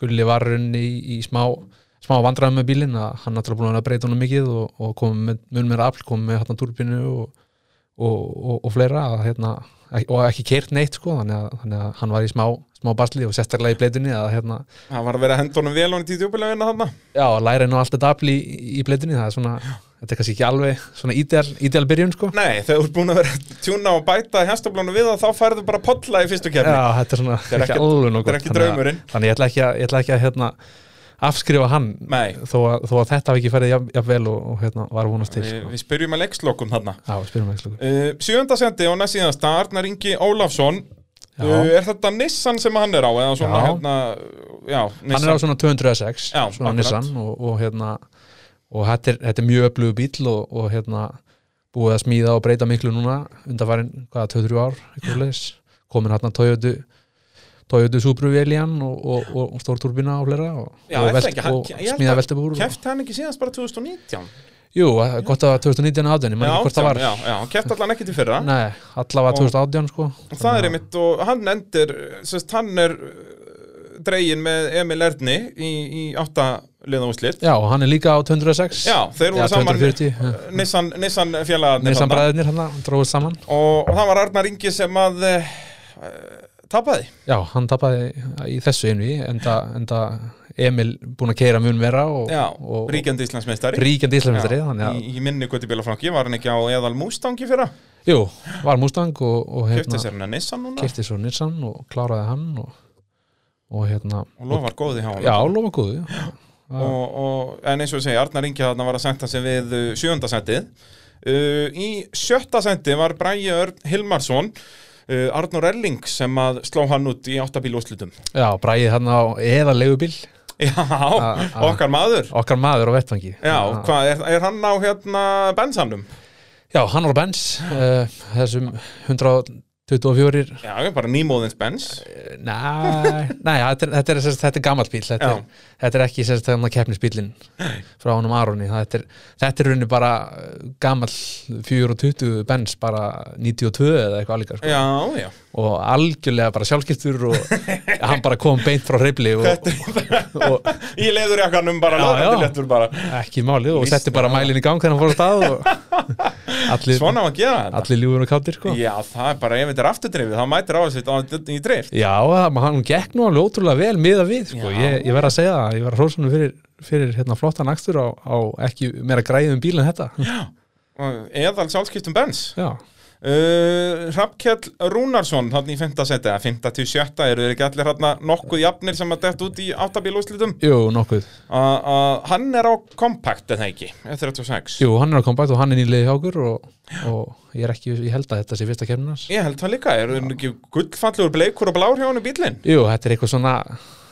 Gulli var runni í, í smá smá vandræðum með bílinn að hann náttúrulega búin að vera að breyta honum mikið og, og komið með mun meira afl, komið með hérna túrbínu og, og, og, og fleira að, hérna, ek- og ekki keirt neitt sko þannig að, þannig að hann var í smá, smá basli og sérstaklega í bleitunni að hérna, Það var að vera að henda honum vel honum í djúpilegina þarna já, að læra nú allt þetta afl í, í bleitunni, það er svona þetta er kannski ekki alveg svona ídel, ídel byrjun sko Nei, þegar þú ert búin að vera að tjúna og bæta hestablónu við það, þá færðu bara polla í fyrstu kefni Já, þetta er svona er ekki ekkert- alveg nóg þetta er gott. ekki Þannig að- draumurinn. Þannig ég ætla ekki að, ég ætla ekki að hérna, afskrifa hann Nei. þó að, þó að þetta hafi ekki farið jafn, jafn vel og, og hérna, var að vonast til Við, sko. við spyrjum að leikslokum þarna Já, spyrum ekki slúku uh, Sjöunda sendi og næst síðasta Arnar Ingi Ólafsson Já. uh, Er þetta Nissan sem hann er á? Eða svona Já. hérna Já, Hann Nissan er á svona 206 Já, svona akkurat. Nissan og, og, hérna, og þetta, er, þetta er mjög öflugu bíl og, og hérna, búið að smíða og breyta miklu núna undanfærin, hvaða, 2-3 ár einhver leis, komin hérna Toyota Toyota Subaru Elian og, og, og, og stórturbina og fleira og, Já, og, er það ekki? Hann- og ég held smíða að- veltebúr og- Kefti hann ekki síðast bara 2019? Jú, að- gott að það var 2019 átján, ég man Eða ekki hvort 18, það var Já, já, hann kefti allan ekki til fyrra Nei, allavega 2018 sko Og það er einmitt og hann endir sérst, Hann er uh, dregin með Emil Erni í, í átta liða úrslit Já, og hann er líka á 206 Já, þeir voru Já, saman hérna? 240, já. Nissan, Nissan félagarnir Nissan þarna. bræðinir hann dróðist hérna saman og, og það var Arnar Ingi sem að uh, tapaði Já, hann tapaði í þessu einu í enda, enda Emil búin að keira mun vera og, Já, og ríkjandi Íslandsmeistari ríkjandi íslumistari Já, Þannig að, í, í minni Göti Bílafranki var hann ekki á eðal Mústangi fyrra jú, var Mustang og, og Kjöfti hérna, sér hann að Nissan núna kefti svo Nissan og kláraði hann og, og hérna og lofar góði hjá hann Já, lofa góðu og, og, En eins og ég segi, Arnar Ingi þarna var að senda sig við uh, sjöunda sendið uh, Í sjötta sendi var Bræi Örn Hilmarsson uh, Arnur Erling sem að sló hann út í áttabíl úrslutum Já, bræðið hann á eða leigubíl Já, a- okkar maður Okkar maður á vettvangi Já, Þannig að- hvað, er, er hann á hérna bensanum? Já, hann var á Benz uh, þessum 124 Já, ég er bara nýmóðins bens eh, Nei, nei þetta, er, þetta, er, þetta, þetta er gamall bíl þetta Já. er, þetta er ekki sérst, þannig að keppnisbílin frá honum Aroni þetta er, þetta er rauninni bara eh, gamall 420 Benz bara 92 eða eitthvað alíka sko. Já, já og algjörlega bara sjálfskiptur og hann bara kom beint frá reyfli og, og, Í leiður jakkanum bara, Já, já. lóðandi léttur bara ekki málið og Víst, setti bara mælin í gang þegar hann fór á stað og allir, Svona á að gera þetta allir ljúfur og káttir sko. Já, það er bara, ef þetta er afturdrifið, þá mætir áherslu á þetta í drift. Já, það- hann gekk nú alveg ótrúlega vel miða við, sko, Já. ég, ég verð að segja það ég verð að hrósa hann fyrir, fyrir hérna, flottan akstur á, á ekki meira græðum bíl en þetta Eðal sálskiptum bens. Já, Uh, Hrafkjell Rúnarsson, hann í 5. seti, eða 5. til 7. eru þeir ekki allir hérna nokkuð jafnir sem að dett út í áttabílúslitum? jú, nokkuð Hann er á kompakt, eða ekki, E36. Jú, hann er á kompakt og hann er nýlega hjá okkur og, og ég er ekki, ég held að þetta sé fyrsta kemnars Ég held það líka, er hann ekki gullfallur bleikur og blár hjá hann í bílinn? Jú, þetta er eitthvað svona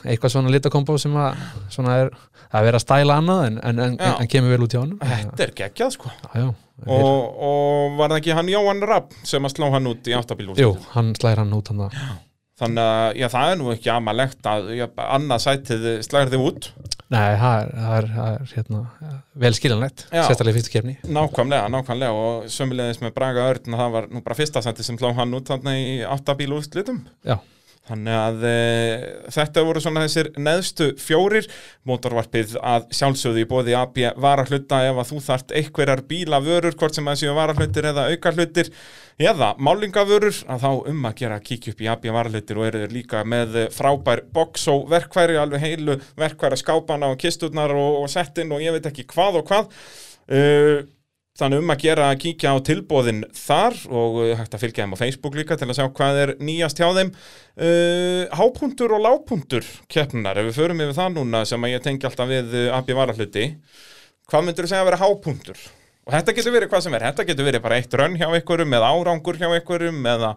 eitthvað svona litakombo sem að svona er, það er verið að stæla annað en, en, en, Já. en kemur vel út hjá honum Já, Þetta er geggjað, sko. já, Og, og var það ekki hann Jóhann Rapp sem að slá hann út í Jú, áttabílúslitum? hann slæðir hann út hann að Þannig að, já, það er nú ekki amalegt að, já, annað sætið slagir þið út. Nei, það er, það er, það er hérna, vel skiljanlegt, Já. sérstaklega í fyrstu kemni Nákvæmlega, nákvæmlega og sömulegðis með Braga Örn og það var nú bara fyrsta sendi sem slá hann út þarna í áttabíl úrslitum Já, Þannig að e, þetta voru svona þessir neðstu fjórir mótorvarpið að sjálfsögðu í bóði AB varahluta ef að þú þart einhverjar bílavörur, hvort sem það séu varahlutir eða aukarhlutir eða málingavörur að þá um að gera að kíkja upp í AB varahlutir og eru þeir líka með eh, frábær boxó verkværi, alveg heilu verkværa skápana og kisturnar og, og settin og ég veit ekki hvað og hvað. Uh, Þannig um að gera að kíkja á tilbóðin þar og uh, hægt að fylgja þeim á Facebook líka til að sjá hvað er nýjast hjá þeim. Uh, hápuntur og lágpuntur keppnar, ef við förum yfir það núna sem að ég tengi alltaf við uh, AB varahluti, hvað myndur þú segja að vera hápuntur? Og þetta getur verið hvað sem er, þetta getur verið bara eitt rönn hjá einhverjum eða árangur hjá einhverjum eða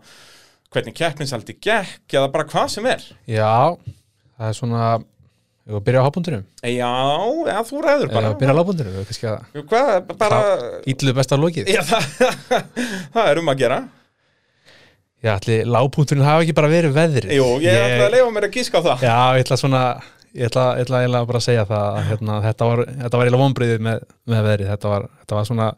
hvernig keppninsaldi gekk eða bara hvað sem er. Já, það er svona Ég var að byrja á hábúndunum Já, eða þú ræður Ég var bara. að byrja á lábúndunum Kannski að Hvað, bara... Ítlu besta lokið Já, það, það er um að gera. Já, ætli lábúndunum hafa ekki bara verið veðrið Jú, ég, ég... ætla að leifa mér að gíska á það. Já, ég ætla svona Ég ætla, ég ætla, ég ætla bara að segja það að, hérna, Þetta var, þetta var eiginlega vonbriðið með, með veðrið þetta var, þetta var svona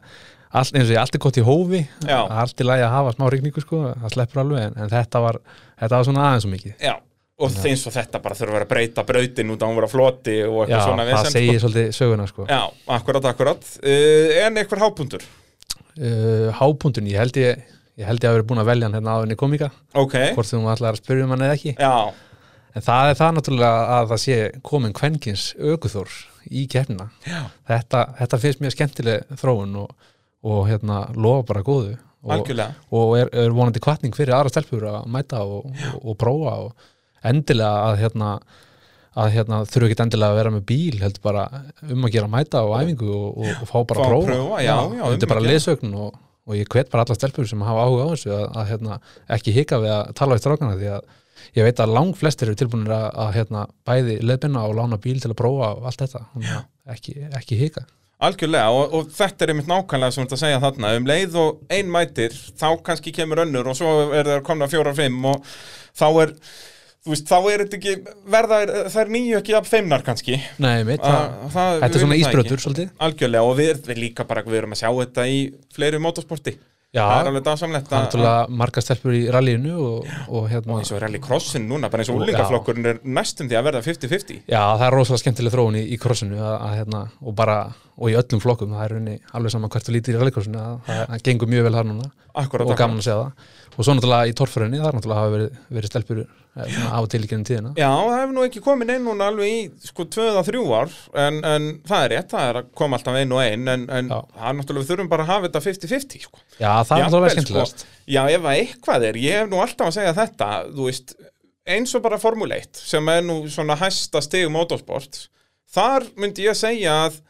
Allt, eins og ég, allt er gott í hófi Já. allt í lagi að hafa smá rigningu sko það sleppur alveg, en, en þetta, var, þetta var svona aðeins og mikið Já, og þeins og þetta bara þurfa að vera að breyta brautin út á hún vera floti og Já, eitthvað svona það vesen, segir svolítið söguna sko Já, akkurat, akkurat uh, En einhver hápundur uh, hápuntun, ég held ég ég held ég að vera búin að velja hann hérna áðurinn í komika Ok, hvort þú maður ætlaði að spyrja um hann eða ekki já, en það er það náttúrulega að það sé komin kvenkins aukuþór í kefnina þetta, þetta finnst mér skemmtileg þróun og, og hérna lofa bara góðu og, algjörlega og er, er vonandi kvartning fyrir aðra stelpur að mæta og, og, og prófa og endilega að hérna að hérna þurfu ekki endilega að vera með bíl heldur bara um að gera mæta og æfingu og, og, og fá bara Fá að að prófa, prófa, já, já, um þetta er að bara gera. lesögn og, og ég hvet bara alla stelpur sem hafa áhuga á þessu að, að hérna, ekki hika við að tala við strákana því að ég veit að lang flestir eru tilbúinir að, að hérna, bæði leðbina og lána bíl til að prófa og allt þetta, Þannig að ekki, ekki hika Algjörlega, og, og þetta er einmitt nákvæmlega sem þú ert að segja þarna, um leið og ein mætir þá kannski kemur önnur og svo er það komna fjóra og fimm og þá er þú veist, þá er þetta ekki verða, það er nýju ekki af feimnar kannski Nei, mitt, Að- það, það- þetta Ah, við er svona viljum það ísbrötur svolítið Algjörlega, og við, við líka bara, við erum að sjá þetta í fleiri motorsporti Já, Það er alveg dásamlegt það er náttúrulega margar stelpur í rallinu og, og hérna eins og rallycrossin núna, bara eins og úlingaflokkurinn er næstum því að verða 50-50 já, það er rosalega skemmtileg þróun í, í krossinu að, að, hérna, og bara, og í öllum flokkum það er raunni alveg saman hvert þú lítir í rallycrossinu að, það, það gengur mjög vel þar núna Akkurat, og akkurat. gaman að segja það og svo náttúrulega í torfurunni, það er náttúrulega hafa verið, verið stelpur eh, svona, af og til í gennum tíðina Já, það hefur nú ekki komin inn núna alveg í sko 2-3 ár en, en það er rétt, það er að koma alltaf einn og einn en, en Já. það er náttúrulega við þurfum bara að hafa þetta 50-50 sko. já, það er náttúrulega Jafnvel, skemmtilegast sko, Já, ef að eitthvað er, ég hef nú alltaf að segja þetta þú veist, eins og bara Formule 1 sem er nú svona hæsta stig motorsport, þar myndi ég segja að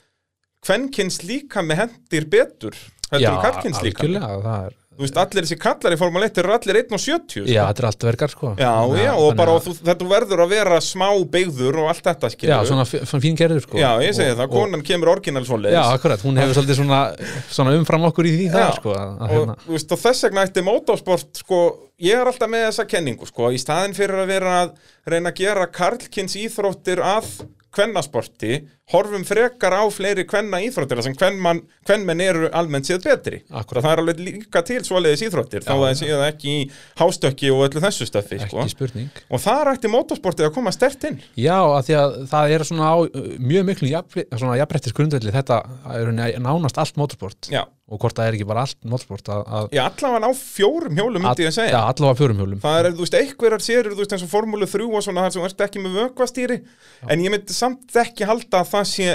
kvenkins líka með hendir betur heldur en karkins líka algjörlega, það er Þú veist, allir þessi kallar í Formule 1 eru allir 1 og 70 já, þetta er allt verkar sko Já, Þannig að- já, og þannig bara að- og þú, þetta verður að vera smá beigður og allt þetta skilur já, svona fi- svona fín gerður sko Já, ég segi Og- það, og- konan kemur orginal svoleiðis Já, akkurat, hún hefur svolítið svona, svona umfram okkur í því það, sko að, að, og, hérna, þú veist, og þess vegna eftir motorsport sko, ég er alltaf með þessa kenningu sko, í staðin fyrir að vera að reyna að gera karlkins íþróttir að kvennasporti, horfum frekar á fleiri kvenna íþróttir sem kvennmann, kvennmenn eru almennt séð betri Akkúrat. það er alveg líka til svoleiðis íþróttir þá Já, að já. það séð ekki í hástökki og öllu þessu stöfi sko. ekki spurning og þar ætti motorsportið að koma stert inn Já, af því að það er svona á uh, mjög miklu jafnri- svona jafnbrettis grundvelli þetta er rauninni að nánast allt motorsport Já, og hvort það er ekki bara allt motorsport að, að já allavega á fjórum hjólum myndi ég að segja Já, allavega fjórum hjólum Það er, þú veist, einhverjar sérur, þú veist, eins og Formúlu 3 og svona þar sem þú ert ekki með vökvastýri en ég myndi samt ekki halda að það sé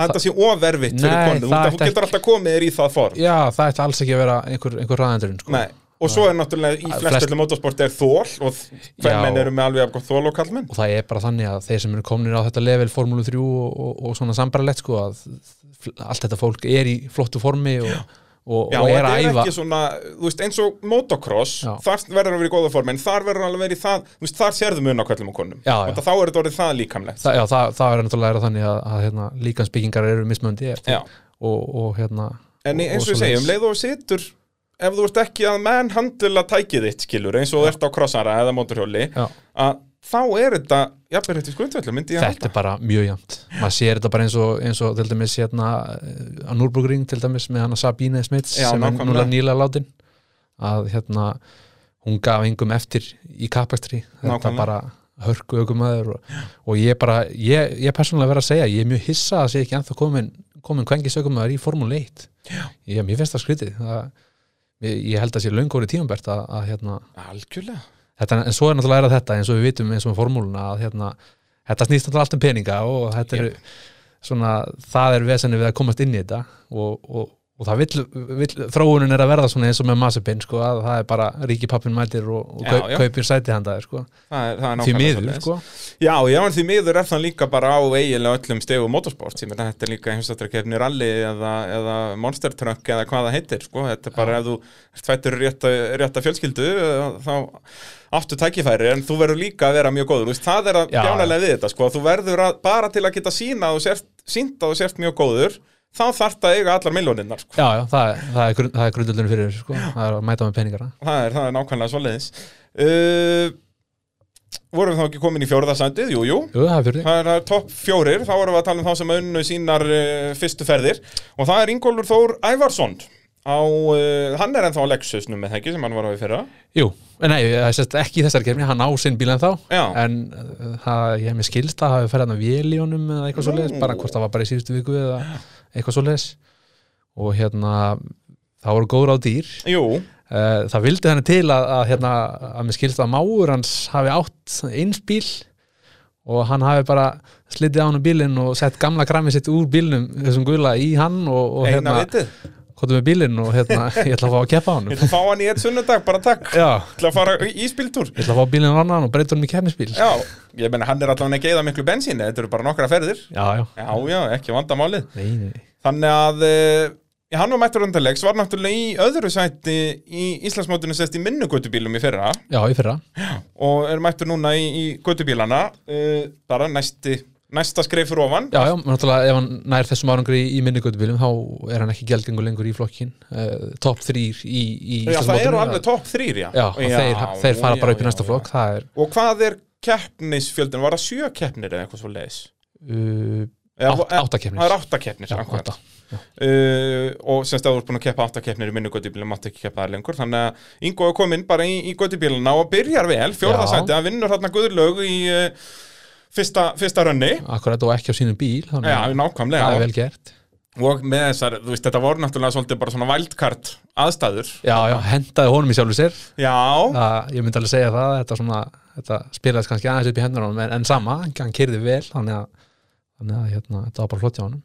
að þetta sé overvitt fyrir Nei, konu það út af ætti þú getur alltaf komið þér í það form Já, það ætti alls ekki að vera einhver, einhver ræðendurinn sko. Nei, og svo er náttúrulega í Að flest flest- öllu motorsport er þól og hvern menn Já. eru með alveg afgóð þól og kallmenn og það er bara þannig að þeir sem eru komnir á þetta level Formúlu 3 og, og, og svona sambaralett sko, að fl- allt þetta fólk er í flottu formi og, og, Já, og er þetta að er æfa ekki svona, þú veist, eins og motocross, Já. þar verður að vera í góða form en þar verður alveg að vera í það, þú veist, þar sérðu mun á kallum og konum Já, og já. þá er þetta orðið það líkamlegt það, já, það, það er náttúrulega er þannig að, að hérna, líkansbyggingar eru mismöndi eftir Já. og, og hérna En eins og ég segi, um leið og þú situr ef þú ert ekki að menn handla tækið þitt skilur, eins og þú ert á krossara eða mótorhjóli, Já. að þá er þetta jafnveg rétt í skundvellu, myndi ég þetta er bara mjög jæmt maður sér þetta bara eins og, eins og til dæmis hérna, eh, á Núrbrugring til dæmis með hana Sabine Smits Já, sem er nákvæmlega. núna nýlega látin að hérna hún gaf engum eftir í kapastri þetta Nákvæmlega. bara hörku ökumæður og, og ég bara, ég, ég persónulega verð að segja ég er mjög hissa að sé ekki anþá komin komin kvengis ökumæður í Formule 1 ég, mér finnst það skrítið það, ég, ég held að sé löngu orðið tímabært að, að hérna, Algjörlega þetta, en svo er náttúrulega er þetta eins og við vitum eins og með formúluna að hérna, þetta snýst náttúrulega allt um peninga og þetta er svona, það er vesenni við að komast inn í þetta og, og, og það vill, vill þróunin er að verða svona eins og með massipinn sko, að það er bara ríki pappin mætir og, og Já, kaup, já. kaupir sæti handaði sko, Það er, það er því nákvæmlega miður svoleiðis. sko. Já, já, en því miður er það líka bara á eiginlega öllum stegum motorsport ég meina þetta er líka heimsættarkefni rally eða, eða monster truck eða hvað það heitir sko. þetta er bara ef þú ert fættur í rétta, rétta fjölskyldu eh, þá áttu tækifæri en þú verður líka að vera mjög góður Þú veist, það er að Já, bjánalega við þetta sko. þú verður að, bara til að geta sína og sért, sínt að þú sért mjög góður þá þarft að eiga allar miljóninnar sko. já, já, það, er- það er, grun- það er grundullun fyrir þessu, sko. það er að mæta með peningara það, er, það er nákvæmlega svoleiðis uh, vorum við þá ekki komin í fjórðasændið, jú, jú Jú, það er fyrir því, Það er, það er topp fjórir, þá erum við að tala um þá sem unnu sínar uh, fyrstu ferðir og það er Ingólfur Þór Ævarsson á, uh, hann er ennþá á Lexusnum með þekki sem hann var á í fyrra jú, en nei, það er sérst ekki í þessari kefni, hann á sinn bíl en þá Já, en uh, það, ég hef mér skilst að hafi ferð hann að vél í honum eða Nú. eitthvað svoleiðis, bara hvort það var bara í síðustu viku eða eitthvað svoleiðis og hérna það voru góður á dýr jú, Eh, það vildi þannig til að, að, hérna, að mér skilst að máur hans hafi átt eins bíl og hann hafi bara slitið á hann um bílinn og sett gamla krammið sitt úr bílnum þessum gula í hann og, og eina hérna, vitið hvað með bílinn og hérna, ég ætla að fá að keppa á hann Ég ætla að fá hann í eitt sunnudag, bara takk já, Ég ætla að fara í íspiltúr ég ætla að fá bílinn á annan og breyta honum í keppnisbíl já, Já, ég menna hann er allavega ekki eða miklu bensíni, þetta eru bara nokkra ferðir já, Já, já, ekki vandamálið nei, nei. Þannig að uh, hann var mættur undanlegs, var náttúrulega í öðru sæti í Íslandsmótinu sest í minnugötubílum í fyrra já, í fyrra og er mættur núna í, í göttubílana uh, bara næsti, næsta skreif fyrir ofan Já, já, menn náttúrulega ef hann nær þessum árangri í minnigötubílum þá er hann ekki gjaldgengur lengur í flokkin uh, top 3 í, í Já, það eru alveg top topp þrýr, já. Já, og þeir, þeir fara bara upp í næsta flokk það er Og hvað er keppnisfjöldin? Var það sjö keppnir eða eitthvað svo leiðis? uh, átt, Það er áttakeppnir átta keppnir, Já, akkurat. átta. Uh, og semst að þú ert búin að keppa átta keppnir í minni göttubílum, mátt ekki keppa það lengur þannig að Ingo er komin bara í, í göttubíluna og byrjar vel, Já. fjórðasæti, hann vinnur hérna guðurlög í uh, fyrsta, fyrsta rönni akkurat og ekki á sínum bíl þannig Já, að nákvæmlega það er vel gert og með þessar, þú veist, þetta voru náttúrulega svolítið bara svona vældkart aðstæður Já, já, hendaði honum í sjálfu sér Já, það, ég myndi alveg segja það þetta, svona, þetta spilaðist kannski aðeins upp í hendur honum en, en sama, hann kyrði vel þannig að, þannig að hérna, þetta var bara flott hjá honum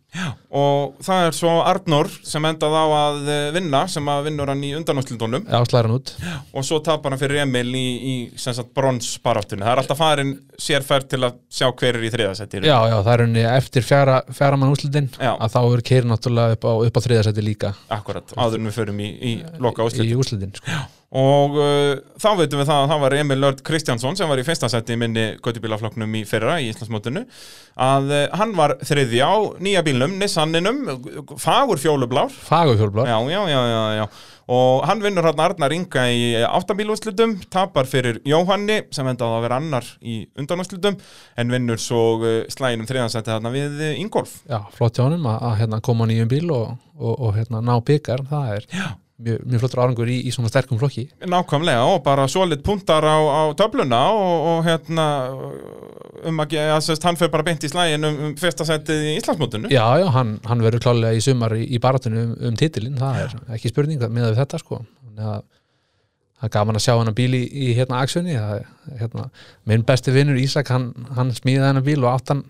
og það er svo Arnór sem endað á að eh, vinna sem að vinnur hann í undanúslindunum Já, slæra hann út og svo tapar hann fyrir Emil í, í sem sagt bronsbaráttunni, það er alltaf farin sérferð til að sjá hver er í þriðasætti Já, já, það er henni eftir fjara, fjara mann úslitin Já. að þá er keiri náttúrulega upp á, upp á þriðasæti líka akkurat, áður en við förum í, í loka í úslit úslitin sko. og uh, þá veitum við það að það var Emil Lörd Kristjánsson sem var í fyrsta sætti í minni göttubílaflokknum í fyrra í Íslandsmótinu að uh, hann var þriði á nýja bílnum, Nissaninum fagur fjólublár Fagufjólblá Já, já, já, já, já. Og hann vinnur hann Arnar Inga í áttabílúslutum, tapar fyrir Jóhanni sem endaði að vera annar í undanúslutum en vinnur svo uh, slæginum þriðansætti þarna við uh, Ingolf. Já, flott hjá honum að, að hérna, koma á nýjum bíl og, og, og hérna, ná byggar það er mjög, mjög flottur árangur í, í svona sterkum flokki Nákvæmlega og bara solid puntar á, á töfluna og, og hérna um að geða, sérst, hann fyrir bara beint í slægin um, um fyrsta sættið í Íslandsmótinu. Já, já, hann, hann verður klálega í sumar í, í baratinu um, um titilinn, það er ekki spurning með við þetta sko Þannig að Það er gaman að sjá hennar bíl í, í hérna aksjunni það, er, hérna, minn besti vinnur Ísak hann, hann smíðaði hennar bíl og átt hann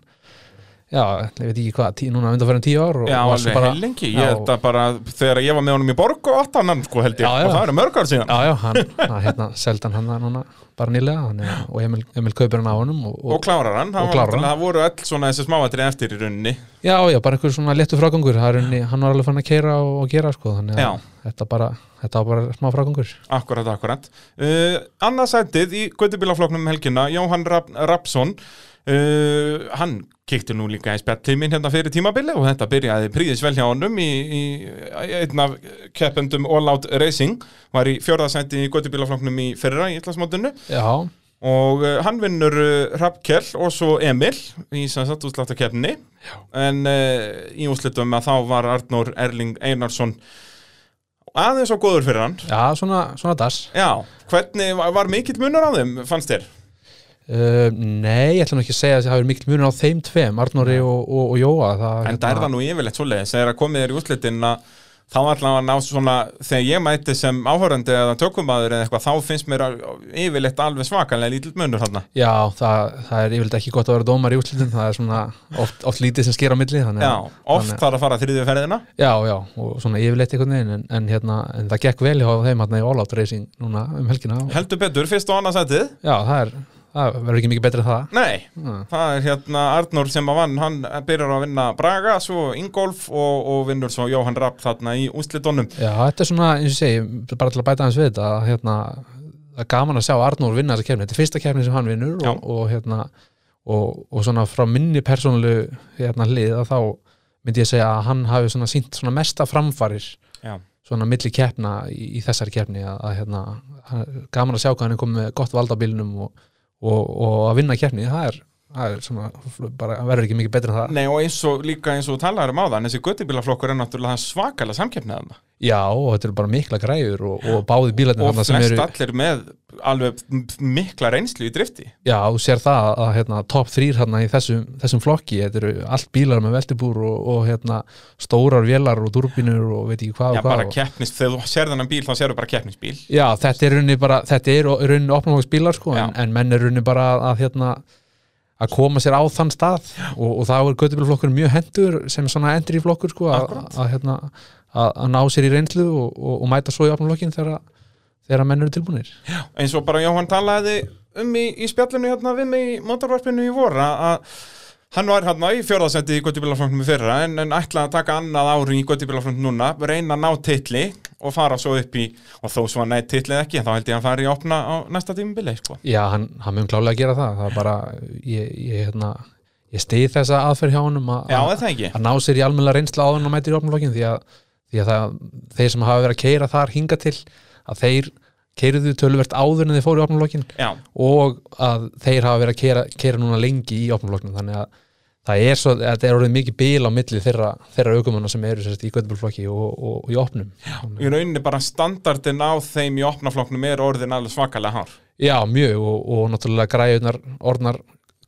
já, ég veit ekki hvað, tí, núna undanfærin tíu ár og, Já, og var svo alveg bara- heilengi, Já, ég held að bara þegar ég var með honum í borg og áttan hann sko held ég, Já, já. og það eru mörg ár síðan. Já, já, hann, hann hérna, seldan hann það núna bara nýlega hann, er- og Emil, Emil kaupir hann á honum og, Og og, klárar hann, það Og var klárar hann. náttúrulega- það voru öll svona þessi smáatrið eftir í runni. já, já, bara einhver svona léttu frágangur Það er henni, hann var alveg fann að keira og, og gera sko, þannig Já. að þetta, bara, þetta var bara smá frágangur Akkurat, akkurat. Uh, annað sætið í Götubílafloknum um helgina, Jóhann Rapp, Rappsson, uh, hann kikti nú líka í spjalltíminn hérna fyrir tímabili og þetta byrjaði príðis vel hjá honum í, í einn af keppendum All Out Racing, var í fjórðasæti í Götubílafloknum í fyrra í Íslandsmótinu Já, og uh, hann vinnur uh, Rappkell og svo Emil í sem sagt eh, útsláttakefni en uh, í úslitum að þá var Arnór Erling Einarsson aðeins og góður fyrir hann Já, svona, svona das Já, hvernig var, var mikill munur á þeim, fannst þér? uh, Nei, ég ætla nú ekki að segja að það hefur mikil munur á þeim tveim, Arnóri og, og, og Jóa það, hérna- En það er það nú yfirleitt svoleiðis, þegar að komið þér í úslitin að þá allan að ná svona, þegar ég mæti sem áhorandi eða tökumadur eða eitthvað, þá finnst mér að- yfirleitt alveg svakalega lítill munur þarna. Já, það, það er yfirleitt ekki gott að vera dómar í útlutum það er svona oft, oft lítið sem sker á milli þannig, Já, að- oft þannig, þarf að fara þriðju ferðina. Já, já, og svona yfirleitt einhvern veginn en, en, hérna, en það gekk vel hjá þeim hérna í All Out Racing núna um helgina og, Heldur betur, fyrst og annað sætið. Já, það er, það verður ekki mikið betri en það Nei, Nei. það er hérna Arnór sem að vann, hann byrjar á að vinna Braga, svo Ingolf og, og vinnur svo Jóhann Rapp þarna í úslitunum. Já, þetta er svona, eins og ég segi, bara til að bæta hans við þetta, að, hérna, það er gaman að sjá Arnór vinna þessa kefni, þetta er fyrsta kefni sem hann vinnur Já. og, og, hérna, og, og svona frá minni persónlu hérna, hlið að þá myndi ég segja að hann hafi svona sínt svona mesta framfarir Já. svona milli keppna í, í þessari keppni að, að hérna, hann- gaman að sjá hvað hann er komið með gott vald á bílnum og, og, og að vinna keppni, það er, það er svona, bara verður ekki mikið betra en það Nei, og eins og líka eins og talaður um á það, en þessi göttibílaflokkur er náttúrulega svakalega samkeppnið þarna. Já, og þetta eru bara mikla græður og, og báði bílarnir Og þarna sem flest eru- allir með alveg m- mikla reynslu í drifti. Já, þú sér það að hérna, top 3 hérna, í þessum, þessum flokki, þetta eru allt bílar með veltibúr og, og hérna, stórar vélar og turbinur og veit ekki hvað Já, og hvað bara og... keppnis, þegar þú sér þennan bíl, þá sérðu bara keppnisbíl. Já, þetta er runni bara, þetta er runni opnumóks bílar sko, en, Já. en menn er runni bara að, að hérna, að koma sér á þann stað og, og þá er göttubílflokkur mjög hendur sem svona endri flokkur sko, að, að, hérna, að, að ná sér í reynslu og, og, og mæta svo í opnumlokkin þegar, þegar menn eru tilbúinir eins og bara Jóhann talaði um í, í spjallinu hérna við mig í motorvarpinu í voru að hann var hérna í fjörðasendi í Götubílaflóknum í fyrra en, en ætlaði að taka annað ári í Götubílaflóknum núna, reyna að ná titli og fara svo upp í, og þó svo að næ titlið ekki, þá held ég að hann fari í opna á næsta tímubili, sko. Já, hann, hann mun klálega að gera það það er bara, ég, ég, hérna, ég stið þessa aðferð hjá honum að- Já, er að það ekki? að ná sér í almennlega reynsla á hann og mætir í opnflokkin því að, því að það, þeir sem hafa verið að keira þar hinga til að þeir keiriðu töluvert áður en þeir fóru í opnflokkin Já, og að þeir hafa verið að keira, keira núna lengi í opnflokkin þannig að það er, svo, þetta er orðið mikið bil á milli þeirra, þeirra aukumanna sem eru sérst, í göttbúlflokki og, og, og í opnum Þannig- í rauninni bara standardin á þeim í opnaflóknum er orðin alveg svakalega hár. Já, mjög og, og náttúrulega græðunar orðnar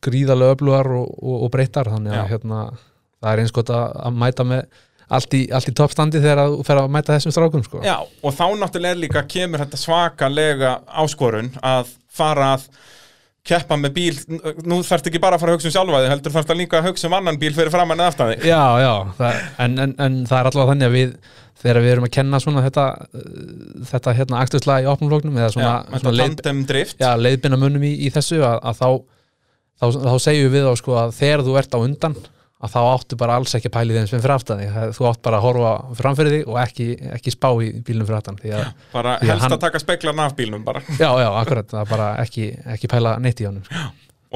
gríðarlega öflugar og, og, og breyttar þannig að Já. hérna, það er eins gott að, að mæta með allt í, allt í toppstandi þegar að þú fer að mæta þessum strákum sko. Já, og þá náttúrulega er líka kemur þetta svakalega áskorun að fara að keppa með bíl, N- nú þarfst ekki bara að fara að hugsa um sjálfaði, heldur þarfst að líka að hugsa um annan bíl fyrir framann eða aftan þig. já, já það, en, en, en það er allavega þannig að við þegar við erum að kenna svona þetta uh, þetta hérna aktuðslega í opnumlóknum eða svona, Já, svona leið, tandem drift. já, leiðbina munum í, í þessu að, að þá, þá, þá segjum við þá sko að þegar þú ert á undan að þá áttu bara alls ekki að pæli þeim sem fyrir aftan þig Það- þú átt bara að horfa framfyrir þig og ekki, ekki spá í bílnum fyrir aftan því að, bara Já, helst hann- að taka speklarna af bílnum bara. já, já, akkurat, það er bara ekki, ekki pæla neitt í honum sko.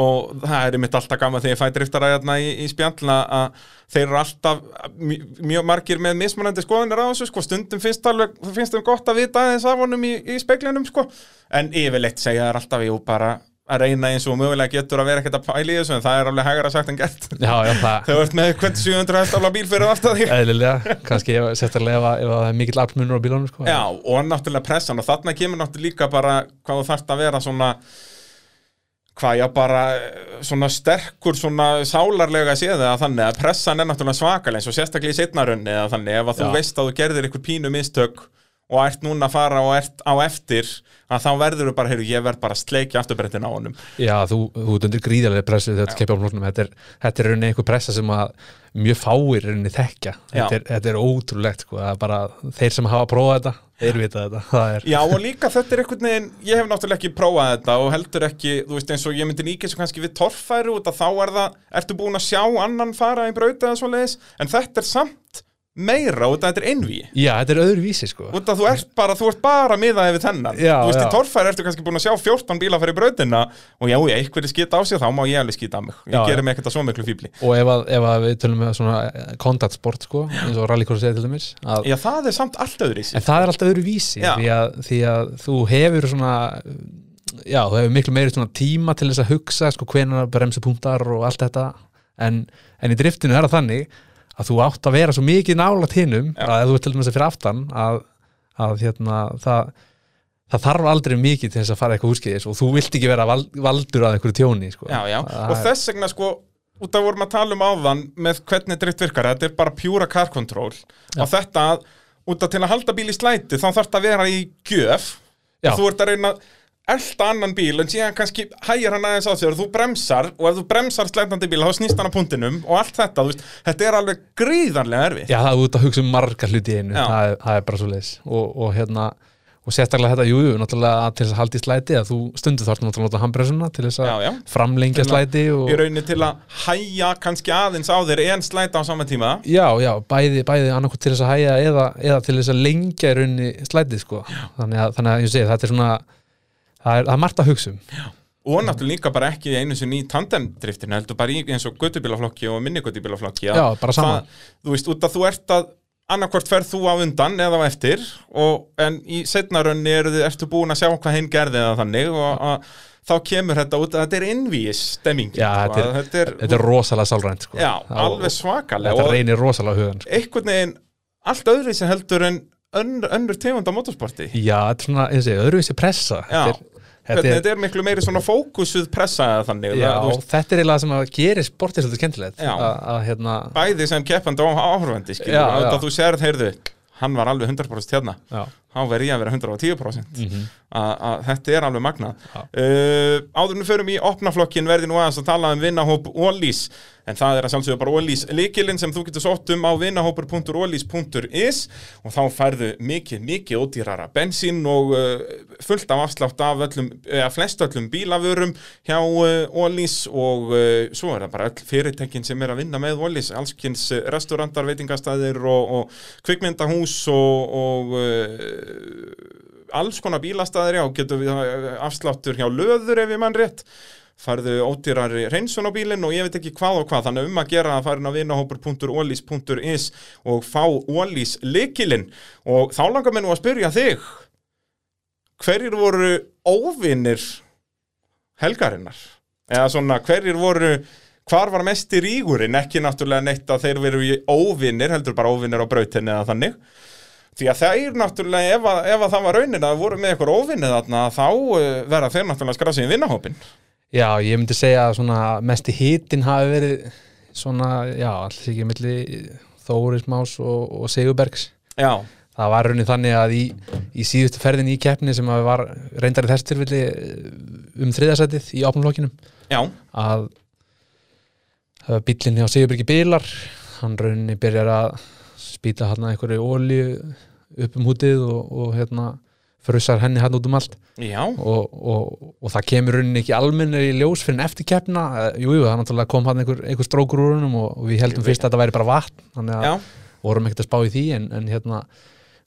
Og það er mitt alltaf gaman þegar ég fæ driftaræðarna í, í spjallna að þeir eru alltaf mj- mjög margir með mismunandi skoðunir á þessu, sko, stundum finnst, alveg, finnst þeim gott að vita aðeins af honum í, í speklinum, sko. En yfirleitt segja þeir alltaf, jú, bara að reyna eins og mögulega getur að vera ekkert að pæla í þessu, en það er alveg hægara sagt en gert. já, já, það Þegar þú ert með hvern 700 hestafla bíl fyrir aftan þig. eðlilega, kannski ef- sérstaklega ef, að- ef að það er mikill aflmunur á bílunum sko. Já, og náttúrulega pressan og þarna kemur náttúrulega líka bara hvað þú þarft að vera svona hvað já bara eh, svona sterkur svona sálarlega séð eða þannig að pressan er náttúrulega svakalega eins og sérstaklega í setnarunni eða þannig ef að þú Já. veist að þú gerðir einhver pínu mistök og ert núna að fara og ert á eftir að þá verður þú bara, heyrðu, ég verð bara að sleikja afturbrettin á honum Já, þú, þú ert undir gríðarlega pressu þegar þetta keppi á flóknum, þetta er, þetta er rauninni einhver pressa sem að mjög fáir rauninni þekkja, Já. þetta er, þetta er ótrúlegt sko, það er bara þeir sem hafa prófað þetta, þeir vita þetta, það er, Já og líka þetta er einhvern veginn ég hef náttúrulega ekki prófað þetta og heldur ekki þú veist eins og ég myndi líka eins og kannski við torfæru út að þá er það, ertu búin að sjá annan fara í brauta eða svoleiðis en þetta er samt meira út að þetta er einví já, þetta er öðruvísi sko. út að þú ert bara, þú ert bara miðað yfir þennan Já, þú veist já. í torfæru ertu kannski búin að sjá 14 bíla fyrir brautina og já, já, einhverju skita á sig þá má ég alveg skita á mig ég Já, já. gerir mig ekkert að svo miklu fíbli Og ef að, ef að við tölum með svona eh, contact sport sko, eins og rallycross eða til dæmis, að, Já, það er samt allt öðru en það er alltaf öðruvísi, Já. því að, því að þú hefur svona, já, þú hefur miklu meiri svona tíma til þess að hugsa sko hvenar bremsupunktar og allt þetta, en, en í driftinu er það þannig að þú átt að vera svo mikið nála tinnum að ef þú ert til dæmis að fyrir aftan að að hérna, það, það þarf aldrei mikið til þess að fara eitthvað úrskeiðis og þú vilt ekki vera val, valdur að einhverju tjóni sko. já, já. Það og er- þess vegna sko út af vorum að tala um áðan með hvernig drift virkar, þetta er bara pjúra car control og þetta, að- út af til að halda bíl í slæti, þá þarf þetta að vera í gjöf Já. þú ert að reyna að elta annan bíl en síðan kannski hægir hann aðeins á þér og þú bremsar og ef þú bremsar slætandi bíl þá snýst hann á puntinum og allt þetta, þú veist, þetta er alveg gríðanlega erfið Já, það er út að hugsa um marga hluti í einu Já. það er, það er bara svo leis og, og hérna, og sérstaklega þetta, jú, jú, náttúrulega að til þess að haldi slæti að þú stundu þarf náttúrulega að nota handbremsuna til þess að Já, já. framlengja slæti og, í rauninni til að hæja kannski aðeins á þér en slæta á sama tíma já, já, bæði, bæði annarkot til þess að hæja eða, eða til þess að lengja í rauninni slæti, sko þannig að, þannig að ég segi, þetta er svona það er, það er margt að hugsa um og náttúrulega líka bara ekki einu sinni í tandemdriftinu heldur bara í eins og göttubílaflokki og minnigöttubílaflokki Já, bara saman. þú veist, út að þú ert að annarkvort ferð þú á undan eða á eftir og, en í setnarönni eru, þið- ertu búin að sjá hvað hinn gerði eða þannig og að, þá kemur þetta út að þetta er innvíis stemming Já, þetta er, þetta er, þetta er rosalega sálrænt, sko já, Það- alveg svakalega Þetta og reynir rosalega á hugan, sko einhvern veginn allt öðru sem heldur en önn, önnur tegund á motorsporti Já, þetta er svona, eins og ég, öðruvísi pressa Já. Þetta er- þetta er, þetta er miklu meiri svona fókusuð pressa eða þannig Já, það, þú veist, þetta er eiginlega sem að gera sportið svolítið skemmtilegt Já. að að, hérna, bæði sem keppandi og áhörfandi skilur, Já, já, já. já. þú sérð, heyrðu hann var alveg 100% hérna já, þá verð ég að vera 110% mm að þetta er alveg magna Mhm. Já. uh, áðurinn förum í opnaflokkin verði nú aðeins að tala um vinnahóp Ólís en það er að sjálfsögja bara Ólís líkilinn sem þú getur sótt um á vinnahópur.ólís.is og þá færðu mikið, mikið ódýrara bensín og uh, fullt af afslátt af öllum, eða flest öllum bílavörum hjá uh, Ólís og uh, svo er það bara öll fyrirtekin sem er að vinna með Ólís, allskins eh, restaurantar, veitingastæðir og, og kvikmyndahús og, og uh, alls konar bílastæðir já, getur við uh, afsláttur hjá löður ef ég mann rétt farðu ódýrari reynsun á bílinn og ég veit ekki hvað og hvað þannig um að gera að farin á vinahópur.olís.is og fá olís likilinn og þá langar mér nú að spyrja þig hverjir voru óvinnir helgarinnar eða svona hverjir voru hvar var mesti rígurinn ekki náttúrulega neitt að þeir veru í óvinnir heldur bara óvinnir á brautinni eða þannig því að þeir náttúrulega ef, að, ef að það var raunin að þeir voru með eitthvað óvinnið þarna þá eh, verða þeir náttúrulega skrásið í vinnahópin já, ég myndi segja að svona mesti hitin hafi verið svona, já, alls ekki milli Þóris Más og, og Sigurbergs Já, það var raunin þannig að í, í síðustu ferðin í keppni sem að var reyndar í þess tilfelli eh, um þriðasætið í opnumlokkinum já, að bílinn hjá Sigurbyrgi bílar hann rauninni byrjar að spýta hann einhverju olíu upp um hútið og, og hérna frussar henni hann út um allt já, og, og, og það kemur rauninni ekki almennir í ljós fyrir en eftir keppna jújú, jú, það náttúrulega kom hann einhver, einhver strókur úr húnum og, og við heldum fyrst að þetta væri bara vatn þannig að já, vorum ekkert að spá í því en, en hérna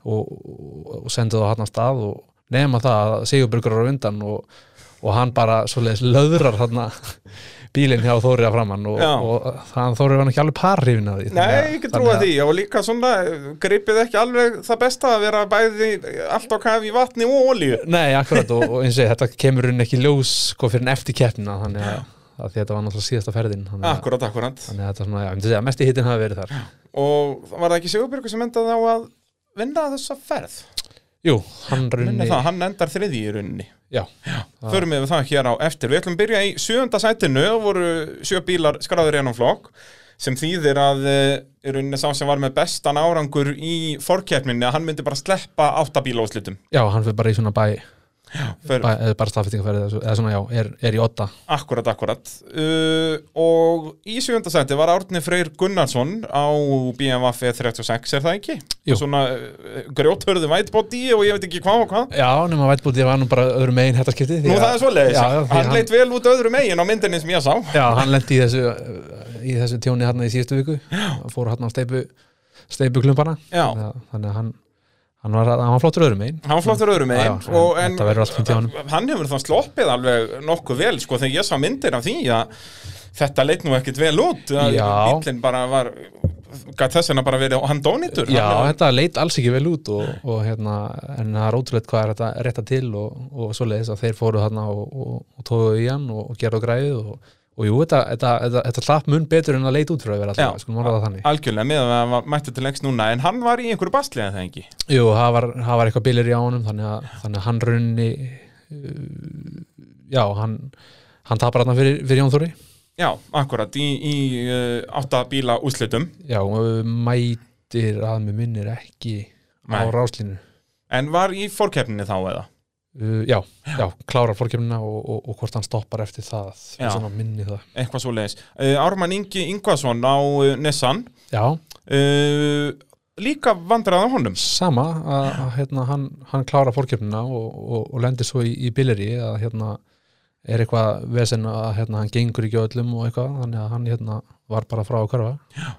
og, og, og sendið á hann að stað og nefna það að Sigurbjörgur eru undan og, og hann bara svoleiðis löðrar hann bílinn hjá Þóriða framann og, Já. og þannig Þórið var nú ekki alveg parrifin að því Nei, ekki trúa því og líka svona eh, gripið ekki alveg það besta að vera bæði eh, allt á kafi í vatni og olíu Nei, akkurat og, og eins og ég, þetta kemur hún ekki í ljós sko fyrir en eftir keppnina þannig að, að því þetta var náttúrulega síðasta ferðin þannig að, Akkurat, akkurat þannig að þetta svona, já, ég myndi segja að mesti hittin hafi verið þar Og var það ekki Sigurbjörgu sem endaði á að vinna þessa ferð Jú, hann Minni runni það, hann endar þriði í runni Já, Förum við það hér á eftir Við ætlum að byrja í sjöunda sætinu Það voru sjö bílar skráður í ennum flokk sem þýðir að eh, í rauninni sá sem var með bestan árangur í fórkeppninni að hann myndi bara sleppa áttabíla úrslitum já, hann fyrir bara í svona bæ, Förum- bæ eða bara staðfestingaferði eða svo- eða svona, já, er, er í otta Akkurat, akkurat uh, og í sjöfunda seti var Árni Freyr Gunnarsson á BMW 36 er það ekki? Jú. Svona uh, grjóthörðu vætbóti og ég veit ekki hvað og hvað Já, nema vætbútið var nú bara öðru megin þetta skipti Nú það er svoleiðis, já, já, því hann hann- leit vel út öðru megin á myndinni sem ég sá Já, hann lendi í þessu, í þessu tjóni hann í síðustu viku Hann fór hann á steipu, steipu klumpana Já. Þannig að- Þannig að hann, hann, var, hann var flottur öðru megin Hann var flottur öðru megin Já, já, og en þetta verður allt fínt hjá honum. hann hefur þá sloppið alveg nokkuð vel sko þegar ég sá myndir af því að þetta leit nú ekkit vel út að Já. bíllinn bara var gætt þess að bara verið hann dónitur Já, hann, þetta leit alls ekki vel út og, og hérna, en það er ótrúleitt hvað er þetta rétta til og, og svoleiðis að þeir fóru þarna og, og, og tóðu í hann og, og gerðu græðu og, og jú, þetta, þetta, þetta, þetta slapp mun betur en að leita út frá að vera Já. alltaf, skulum orða það þannig algjörlega með að hann var mættu til lengst núna en hann var í einhverju bastlega það ekki Jú, það var, það var eitthvað bilir í ánum þannig að, þannig að hann runni uh, já, hann hann tapar hann fyrir, fyrir Jón Þóri já, akkurat, í, í uh, átta bíla úslitum já, uh, mætir að mér minnir ekki Nei. á ráslínu en var í fórkeppninni þá eða uh, já, já, klárar fórkjöfnina og, og, og hvort hann stoppar eftir það Já. svona minni það eitthvað svo leiðis uh, Ármann Ingi Ingvason á uh, Nessan já, uh, líka vandraði á honum sama að, að hérna, hann, hann klárar fórkjöfnina og, og, og lendir svo í, í bilir að hérna er eitthvað vesen að hérna, hann gengur ekki á öllum og eitthvað, þannig að hann hérna var bara frá að körfa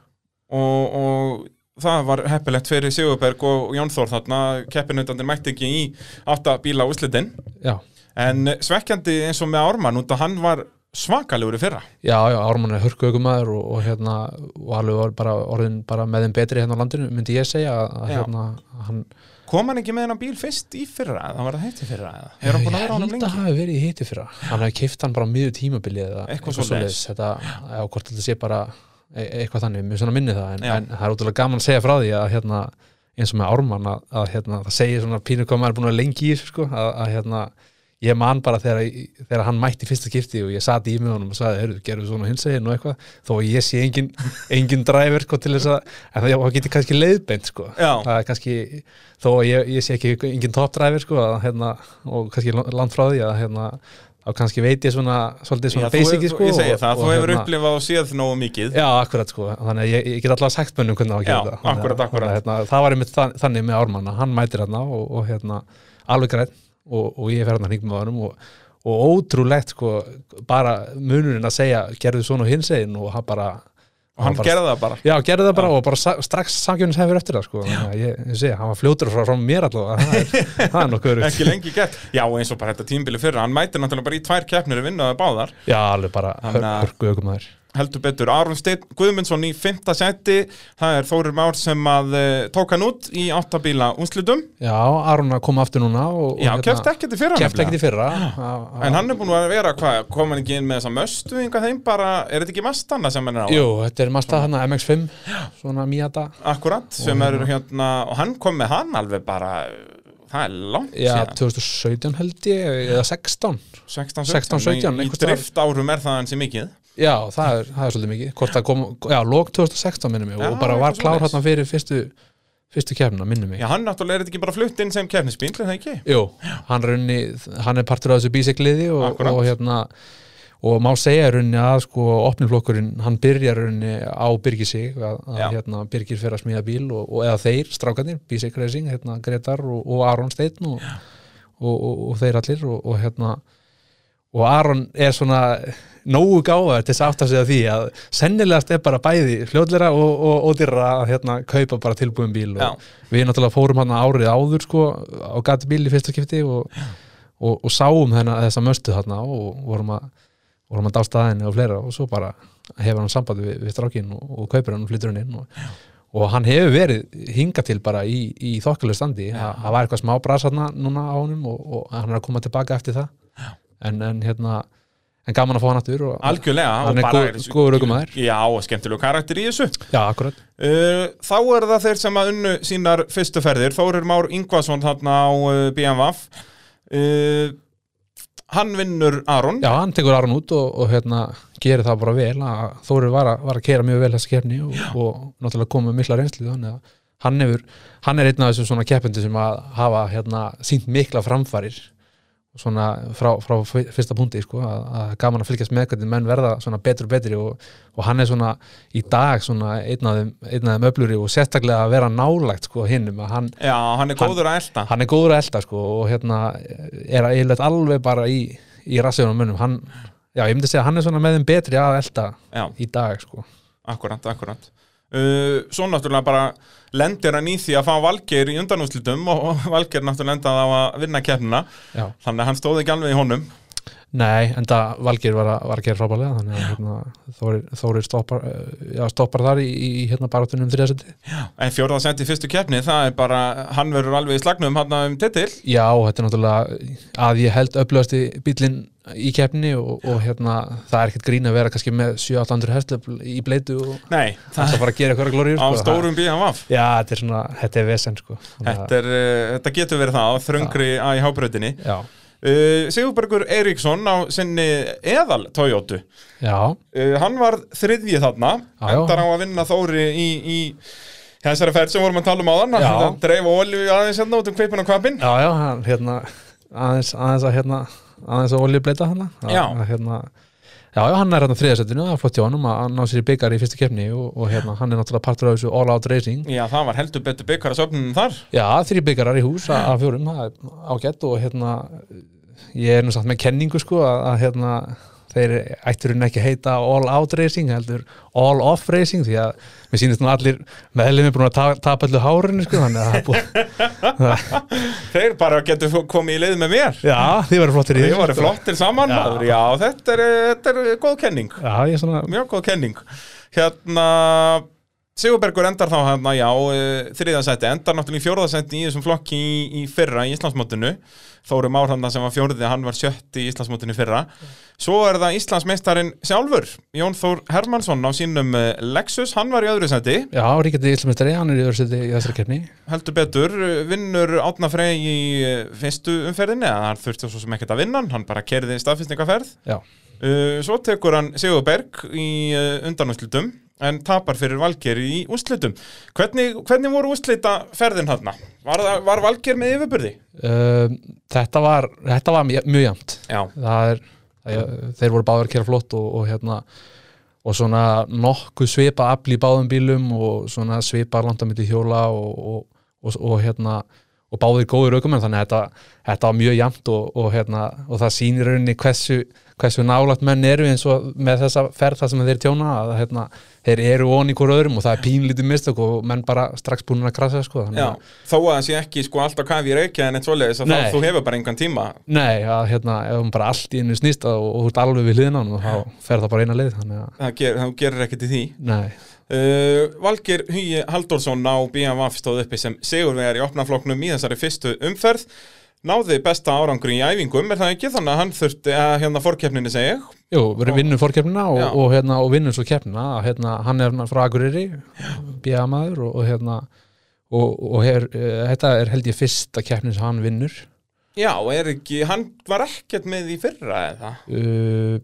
og, og það var heppilegt fyrir Sigurberg og Jón Þór þarna keppinautandir mætti ekki í átta bíla úslitin já, en svekkjandi eins og með Ármann út að hann var svakalegur í fyrra Já, já, Ármann er hörkuökumæður og, og hérna og alveg var bara orðin bara með þeim betri hérna á landinu, myndi ég segja að að Já. hérna, að hann kom hann ekki með hennan bíl fyrst í fyrra eða hann var það heitt í fyrra eða er hann búin að vera á honum Ég held að lengi hafi verið í hiti fyrir hann hafi keift hann bara á miður tímabili eða Eitthvað svoleiðis. svoleiðis. þetta, já, hvort þetta sé bara e eitthvað þannig, mér svona minni það en, Já. en það er útrúlega gaman að segja frá því að hérna, eins og með Ármann að, að hérna, það segir svona pínu hvað maður er búin að vera lengi í þessu, sko, að, að hérna ég man bara þegar, þegar hann mætti í fyrsta skipti og ég sati í með honum og sagði, heyrðu, gerðu svona hins eginn og eitthvað, þó að ég sé engin, engin driver, sko, til þess að en það, það geti kannski leiðbeint, sko Já. það er kannski, þó að ég, ég sé ekki engin topdræfir sko, að, hérna, og kannski land frá því að hérna, þá kannski veit ég svona, svolítið svona Já, þú hefur- basic sko, ég segi það, þú hefur hérna, upplifað og séð nógu mikið Já, akkurat sko, þannig að ég, ég get allavega sagt mönnum hvernig á að gera Já, þetta Þannig að- akkúrat, akkúrat. þannig að, hérna, Það var einmitt þann- þannig með Ármanna, hann mætir hérna og, og hérna, alveg græn og, og ég fer hérna hringum á hannum og, og ótrúlegt sko, bara munurinn að segja, gerðu svona og hins einn og hann bara og hann bara- gerði það bara Já, gerði það bara og bara sa- strax samgjöfnis hefur eftir það sko. Þannig að Ég, ég segi, hann var fljótur frá, frá mér allavega Það er, það er nokkuð örugt. ekki lengi gert, já eins og bara þetta tímbili fyrra hann mætti náttúrulega bara í tvær keppnir að vinna það báðar Já, alveg bara Þannig að- hörku ökum þær heldur betur, Aron Steinn Guðmundsson í fymta seti, það er Þórir Már sem að uh, tók hann út í áttabíla únslitum, Já, Aron að koma aftur núna og, hérna og já, kefti ekkert í fyrra Keft nefnilega. ekkert í fyrra a- a- en hann er búin að vera, hvað, kom hann ekki inn með þessa möstu, einhvað þeim bara, er þetta ekki mastanna sem hann er á? Jú, þetta er Mazda hana MX-5 Svona Miata Akkurat, sem er hérna, og hann kom með hann alveg bara, það er langt Já, síðan, 2017 held ég, eða 16 16, 16, 17, í, einhvers í staðar. drift árum er það hans í mikið, Já, það er, það er svolítið mikið Hvort það kom, já, lók 2016 minnum mig Já, Og bara var eitthvað klár svoleiðis. hérna fyrir fyrstu Fyrstu kefna, minnum mig já, hann náttúrulega er þetta ekki bara flutt inn sem kefnisbíl, er það ekki? Jú, hann, runni, hann er partur af þessu bísikliði og, Akkúrat. og hérna og má segja runni að sko opniflokkurinn, hann byrjar runni á Byrgi sig, að, að Já. hérna Byrgir fer að smíða bíl og, og eða þeir strákanir, Bísik Racing, hérna Gretar og, og Aron Steinn og, og, og, og þeir allir og, og hérna og Aron er svona nógu gáðar til þess að átta sig að því að sennilegast er bara bæði fljóðlera og, og, og dyrra að hérna kaupa bara tilbúin bíl og Já. við náttúrulega fórum hann árið áður sko á gati bíl í fyrsta skipti og, og, og sáum þennan þessa möstu þarna og vorum að vorum að dásta aðinni og fleira og svo bara hefur hann sambandi við, við strákin og, og kaupir hann og flyttur hann inn og, og hann hefur verið hingað til bara í, í þokkalegu standi, Ha- það var eitthvað smá bras hann núna á honum og, og hann er að koma tilbaka eftir það en, en hérna, en gaman að fá hann aftur og, Algjörlega, Hann og er bara góð- góður ökumaður. Já, og skemmtilegu karakter í þessu já, akkurat Uh, Þá er það þeir sem að unnu sínar fyrstu ferðir Þórir Már Ingvason þarna á uh, BMWF uh, Hann vinnur Aron já, hann tekur Aron út og, og hérna gerir það bara vel, að Þórir var að, var að kera mjög vel þessi kefni og, og náttúrulega komið með mikla reynslu þannig að hann hefur, hann er einn af þessum svona keppendur sem að hafa hérna sínt mikla framfarir svona frá, frá fyr- fyrsta punkti sko, að, að gaman að fylgjast með hvernig menn verða svona betur og betri og, og hann er svona í dag svona einn af þeim, einn af þeim öfluri og sérstaklega að vera nálægt sko hinnum að hann, Já, hann er góður að elta hann er góður að elda sko og hérna er að eiginlega alveg bara í, í rassjónum mönnum hann, já ég myndi segja að hann er svona með þeim betri að elda Já, í dag sko akkurat, akkurat uh, Svo náttúrulega bara lendir hann í því að fá Valgeir í undanúslitum og, og Valgeir náttúrulega endaði á að vinna keppnina já. Þannig að hann stóð ekki alveg í honum Nei, en það Valgir var að, var að gera frábælega þannig að hérna, Þórir, Þórir stoppar, eh, já, stoppar þar í, í hérna baratunum þriðasendi En fjórðasendi í fyrstu keppni, það er bara, hann verður alveg í slagnum hann um titil. Já, þetta er náttúrulega að ég held upplöðasti bílinn í keppni og, og hérna, það er ekkert grín að vera kannski með 7-800 hestöfl í bleitu og Nei, það það sko- fara að gera eitthvað glóri á stórum BMF. Já, þetta er svona, þetta er vesen sko Þannig að- Þetta, er, uh, þetta getur verið það á þröngri ja. í hábröðinni. Já, Uh, Sigurbergur Eiríksson á sinni eðal Toyota. já, Uh, hann var þriðji þarna, Já, já. endar á að vinna Þóri í, í þessari ferð sem vorum að tala um áðan. Já. Hann dreif olju aðeins hérna út um kveipin og kvapin. já, já, hann, hérna aðeins, aðeins að hérna aðeins að olju bleita hana að, Já. að, hérna, Já, já, hann er hérna þriðasettinu, það er flott hjá honum að hann ná sér í byggar í fyrstu keppni og, og hérna, hann er náttúrulega partur af þessu all-out racing Já, það var heldur betur byggarasöfnunum þar. Já, þrý byggarar í hús að að fjórum, það er ágætt og hérna, ég er nú satt með kenningu sko að, að hérna, þeir ætturinn ekki að heita all out racing heldur all off racing því að mér sýnist nú allir meðlum er búin að ta- tapa allu hárinu sko þannig að það er búið, Þeir bara getur komið í leið með mér. já, þið verður flottir í Þeir þessu, voru sko. flottir saman. Já. maður. Já, þetta er, eh, þetta er góð kenning. Já, ég er svona, mjög góð kenning hérna Sigurbergur endar þá hérna, já, þriðasætti, endar náttúrulega í fjórðasætti í þessum flokki í, í fyrra í Íslandsmótinu, Þóri Már hann sem var fjórði, hann var sjötti í Íslandsmótinu í fyrra svo er það Íslandsmeistarin sjálfur, Jón Þór Hermansson á sínum eh, Lexus, hann var í öðru sætti já, ríkjandi íslumestari, hann er í öðru seti í þessari keppni heldur betur, eh, vinnur Átna Frey í eh, fyrstu umferðinni, eða hann þurfti svo sem ekkert að vinna hann, hann bara kerði staðfinstingaferð Já, Uh, svo tekur hann Sigurberg í uh, undanúslitum en tapar fyrir Valgeir í úslitum. Hvernig, hvernig voru úslita ferðin hann? Var, það- var Valgeir með yfirbyrði? um, þetta var, þetta var mjög mjög jæmt Já. það er, það- þeir voru báður að kera flott og, og hérna og svona nokkuð svipa afl í báðum bílum og svona svipa landamitti hjóla og, og, og, og hérna og báðir góður aukumenn þannig að þetta, þetta var mjög jæmt og, og, hérna, og það sýnir rauninni hversu, hversu nálægt menn eru eins og með þessa ferð það sem þeir tjóna að hérna, þeir eru onni hvort öðrum og það er pínlítið mistök og menn bara strax búin að krasa sko, þannig Já. að Þó að það sé ekki sko alltaf kafi í reykja en eitt svoleiðis að Nei. þá, þú hefur bara engan tíma. Nei, að hérna, ef hún bara allt í einu snýst að- og þú ert alveg við hliðina á honum, þá fer það bara eina leið, þannig að Það, ger, það gerir ekkert í því. Nei, Uh, Valgeir Hugi Halldórsson á BMF stóð uppi sem sigurvegar í opnafloknum í þessari fyrstu umferð náði besta árangur í æfingum er það ekki þannig að hann þurfti að hérna fórkeppninni segja jú, við vinnum fórkeppnina og, Já. og, hérna, og vinnum svo keppnina hérna, hann er frá Akureyri bíðamaður og, og hérna og, og her, eh, þetta er held ég fyrsta keppnin sem hann vinnur Já, er ekki, hann var ekkert með í fyrra eða? uh,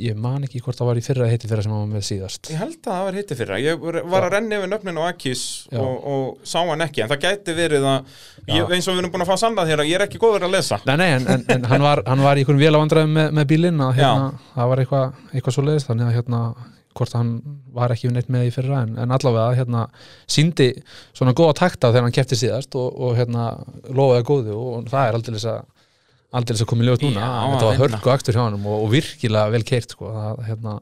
ég man ekki hvort það var í fyrra heiti fyrra sem hann var með síðast Ég held að það var hitti fyrra. Ég var var að renna yfir nöfnin á Akis Já. og, og sá hann ekki, en það gæti verið að, Já. ég, eins og við erum búin að fá sannað hér, að ég er ekki góður að lesa. Nei, nei, en, en, en hann, var, hann var í einhvern vélavandræðum með, með bílinn að hérna, það var eitthvað eitthva svo leiðist þannig að hérna, hvort hann var ekki neitt með í fyrra en, en allavega hérna síndi svona góða takta þegar hann kefti síðast og, og hérna lofaði góðu og það er aldrei að aldrei að koma í ljóð núna Já, en þetta var hérna. hörku aktur hjá hann og, og virkilega vel keirt sko, það, hérna,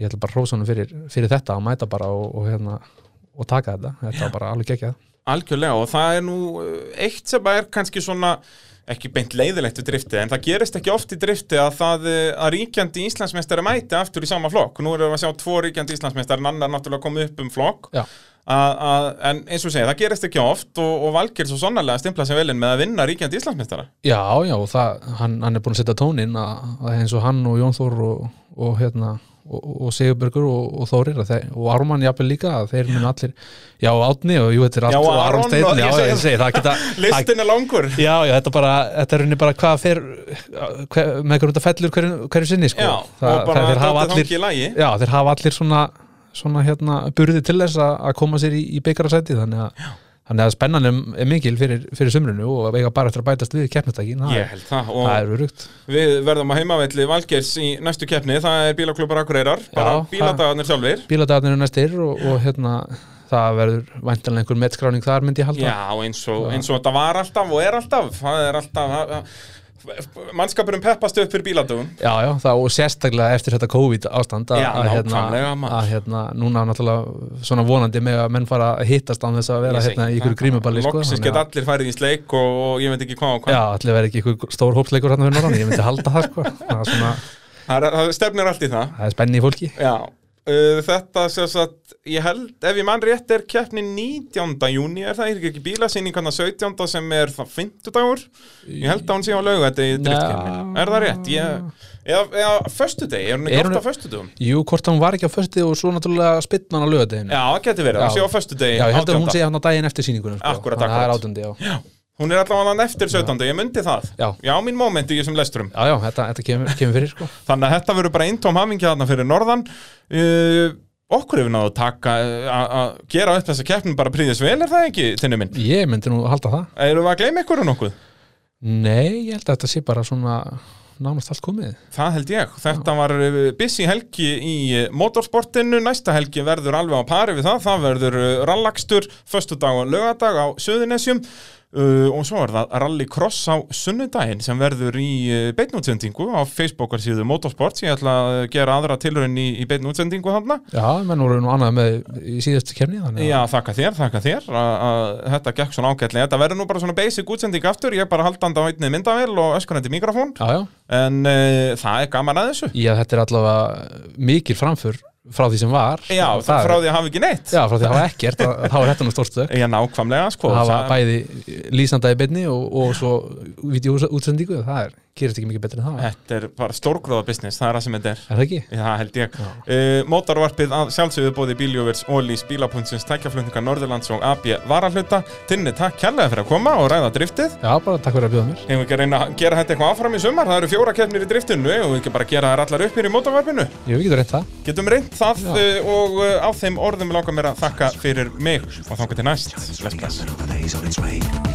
ég ætla bara að hrósa hann fyrir, fyrir þetta að mæta bara og, og hérna og taka þetta, þetta var bara alveg geggjað Algjörlega, og það er nú eh, eitt sem er kannski svona, ekki beint leiðilegt við drifti, en það gerist ekki oft í drifti að það eh, að ríkjandi Íslandsmeistari mæti aftur í sama flokk. Nú erum við að sjá tvo ríkjandi Íslandsmeistari, en annar náttúrulega komið upp um flokk. Já. Að, að, en eins og segja, það gerist ekki oft og, og Valgeir svo sannarlega stimpla sem velin með að vinna ríkjandi Íslandsmeistara. Já, já, og það, hann, hann er búin að setja tóninn að, að eins og hann og Jón Þór og, og hérna og, og Sigurbergur og, og Þórir að þeir, og Ármann jafnvel líka, að þeir mun allir já, og Átni og jú, þetta er allt Já, og Aron Aron og- Steinn, ég já, segi ég það. segi það geta, að, Listin er langur. Já, já, þetta bara, þetta er rauninni bara hvað fer hver, með hverjum þetta fellur hverju, hverju sinni, sko Já, það, og bara þeir hafa dotið allir, þangi í lagi já, þeir hafa allir svona, svona hérna, burði til þess að, að koma sér í, í byggarasæti, þannig að Þannig að spennan er er mikil fyrir, fyrir sumrinu og eiga bara eftir að bætast við keppnastækin. Ég held það og Það er örugt við verðum á heimavelli Valgeirs í næstu keppni, það er bílaklubbar Akureyrar, bara Já, bíladagarnir sjálfir Bíladagarnir er næstir og, og hérna það verður væntanlega einhver metskráning þar myndi ég halda Já, eins og, eins og þetta var alltaf og er alltaf það er alltaf það- það- mannskapurinn peppast upp fyrir bíladöfum Já, já, þá og sérstaklega eftir þetta COVID ástand að, Já, að, hérna, nákvæmlega, maður. að hérna, núna náttúrulega svona vonandi með að menn fara að hittast án þess að vera hérna í ykkur grímuballi sko, Loksins þannig get að- allir farið í sleik og, og ég veit ekki hvað og hvað Já, allir verið ekki ykkur stór hópsleikur hérna fyrir norðan, ég myndi halda það sko það er svona, Það er- það stefnir allt í það það er spenni í fólki Já, uh, þetta sem sagt ég held, ef ég mann rétt er keppni 19. júni, er það er ekki bílasýningarna 17. sem er það 50 dagur ég held að hún sé á laugu þetta í driftkeppni, er það rétt? Ég, eða, eða föstudegi, er hún ekki Er hún- oft á föstudum? Jú, hvort hún var ekki á föstu og svo náttúrulega spytman á lögadeginu Já, það getur verið, Já. það sé á föstudegi Já, ég held að hún 18.. sé hann á daginn eftir sýningunum sko. Akkúrat, Þannig að það er akkúrat. átundi, já Já, hún er allavega hann eftir 17. ég myndi það Já. mín moment í þessum lesturum Já, já, þetta, þetta kemur, kemur fyrir sko Þannig að þetta verður bara eintóm hamingja þarna fyrir norðan uh, Okkur hefur náðu að taka uh, að að gera upp þessa keppnum bara príðis vel er það ekki, þinni minn? Ég myndi nú halda það Erum við að gleyma ykkur um nokkuð? Nei, ég held að þetta sé bara svona nánast allt komið Það held ég, þetta var uh, busy helgi í uh, motorsportinu, næsta helgi verður alveg á pari við það, það verður uh, rallakstur, föstudag og lögadag á Suðunesjum uh, og svo er það rallycross á sunnudaginn sem verður í uh, beinútsendingu á Facebookar síðu motorsports, ég ætla að gera aðra tilraun í, í beinútsendingu þarna Já, menn voru nú annað með í síðustu kemni þannig Já, að þakka þér, þakka þér að, að þetta gekk svona ágætlega, þetta verður nú bara svona basic útsending aftur, ég er bara haldandi á einni myndavél og öskunandi mikrofón, já, já. en uh, það er gaman að þessu Ég, þetta er allavega mikil framför frá því sem var Já, Og það er- frá því að hafa ekki neitt Já, frá því að hafa ekkert, að- þá er þetta nú stórstök Já, nákvæmlega, sko að hafa það- bæði lýsanda í beinni og, og svo videóútsendingu, það er, gerist ekki mikið betri en það er Þetta er bara stórgróða business, það er það sem þetta er það ekki? Já, það held ég. Uh, mótarvarpið að sjálfsögðu bóði bíljóvers Ólís Bílapunnsins tækjaflutningar Norðurlands og AB varahluta. Tinni, takk kærlega fyrir að koma og ræða driftið. Já, bara takk fyrir að bjóða mér Hefum við ekki að reyna að gera þetta eitthvað áfram í sumar? Það eru fjóra keppnir í driftinu og við ekki bara að gera þær allar upp hér í mótarvarpinu. Jú, við getum reynt það Getum reynd það Já. uh, og uh, á þeim orðum langar mér að þakka fyrir mig og þanga til næst. Bless, bless. Another day's on its way.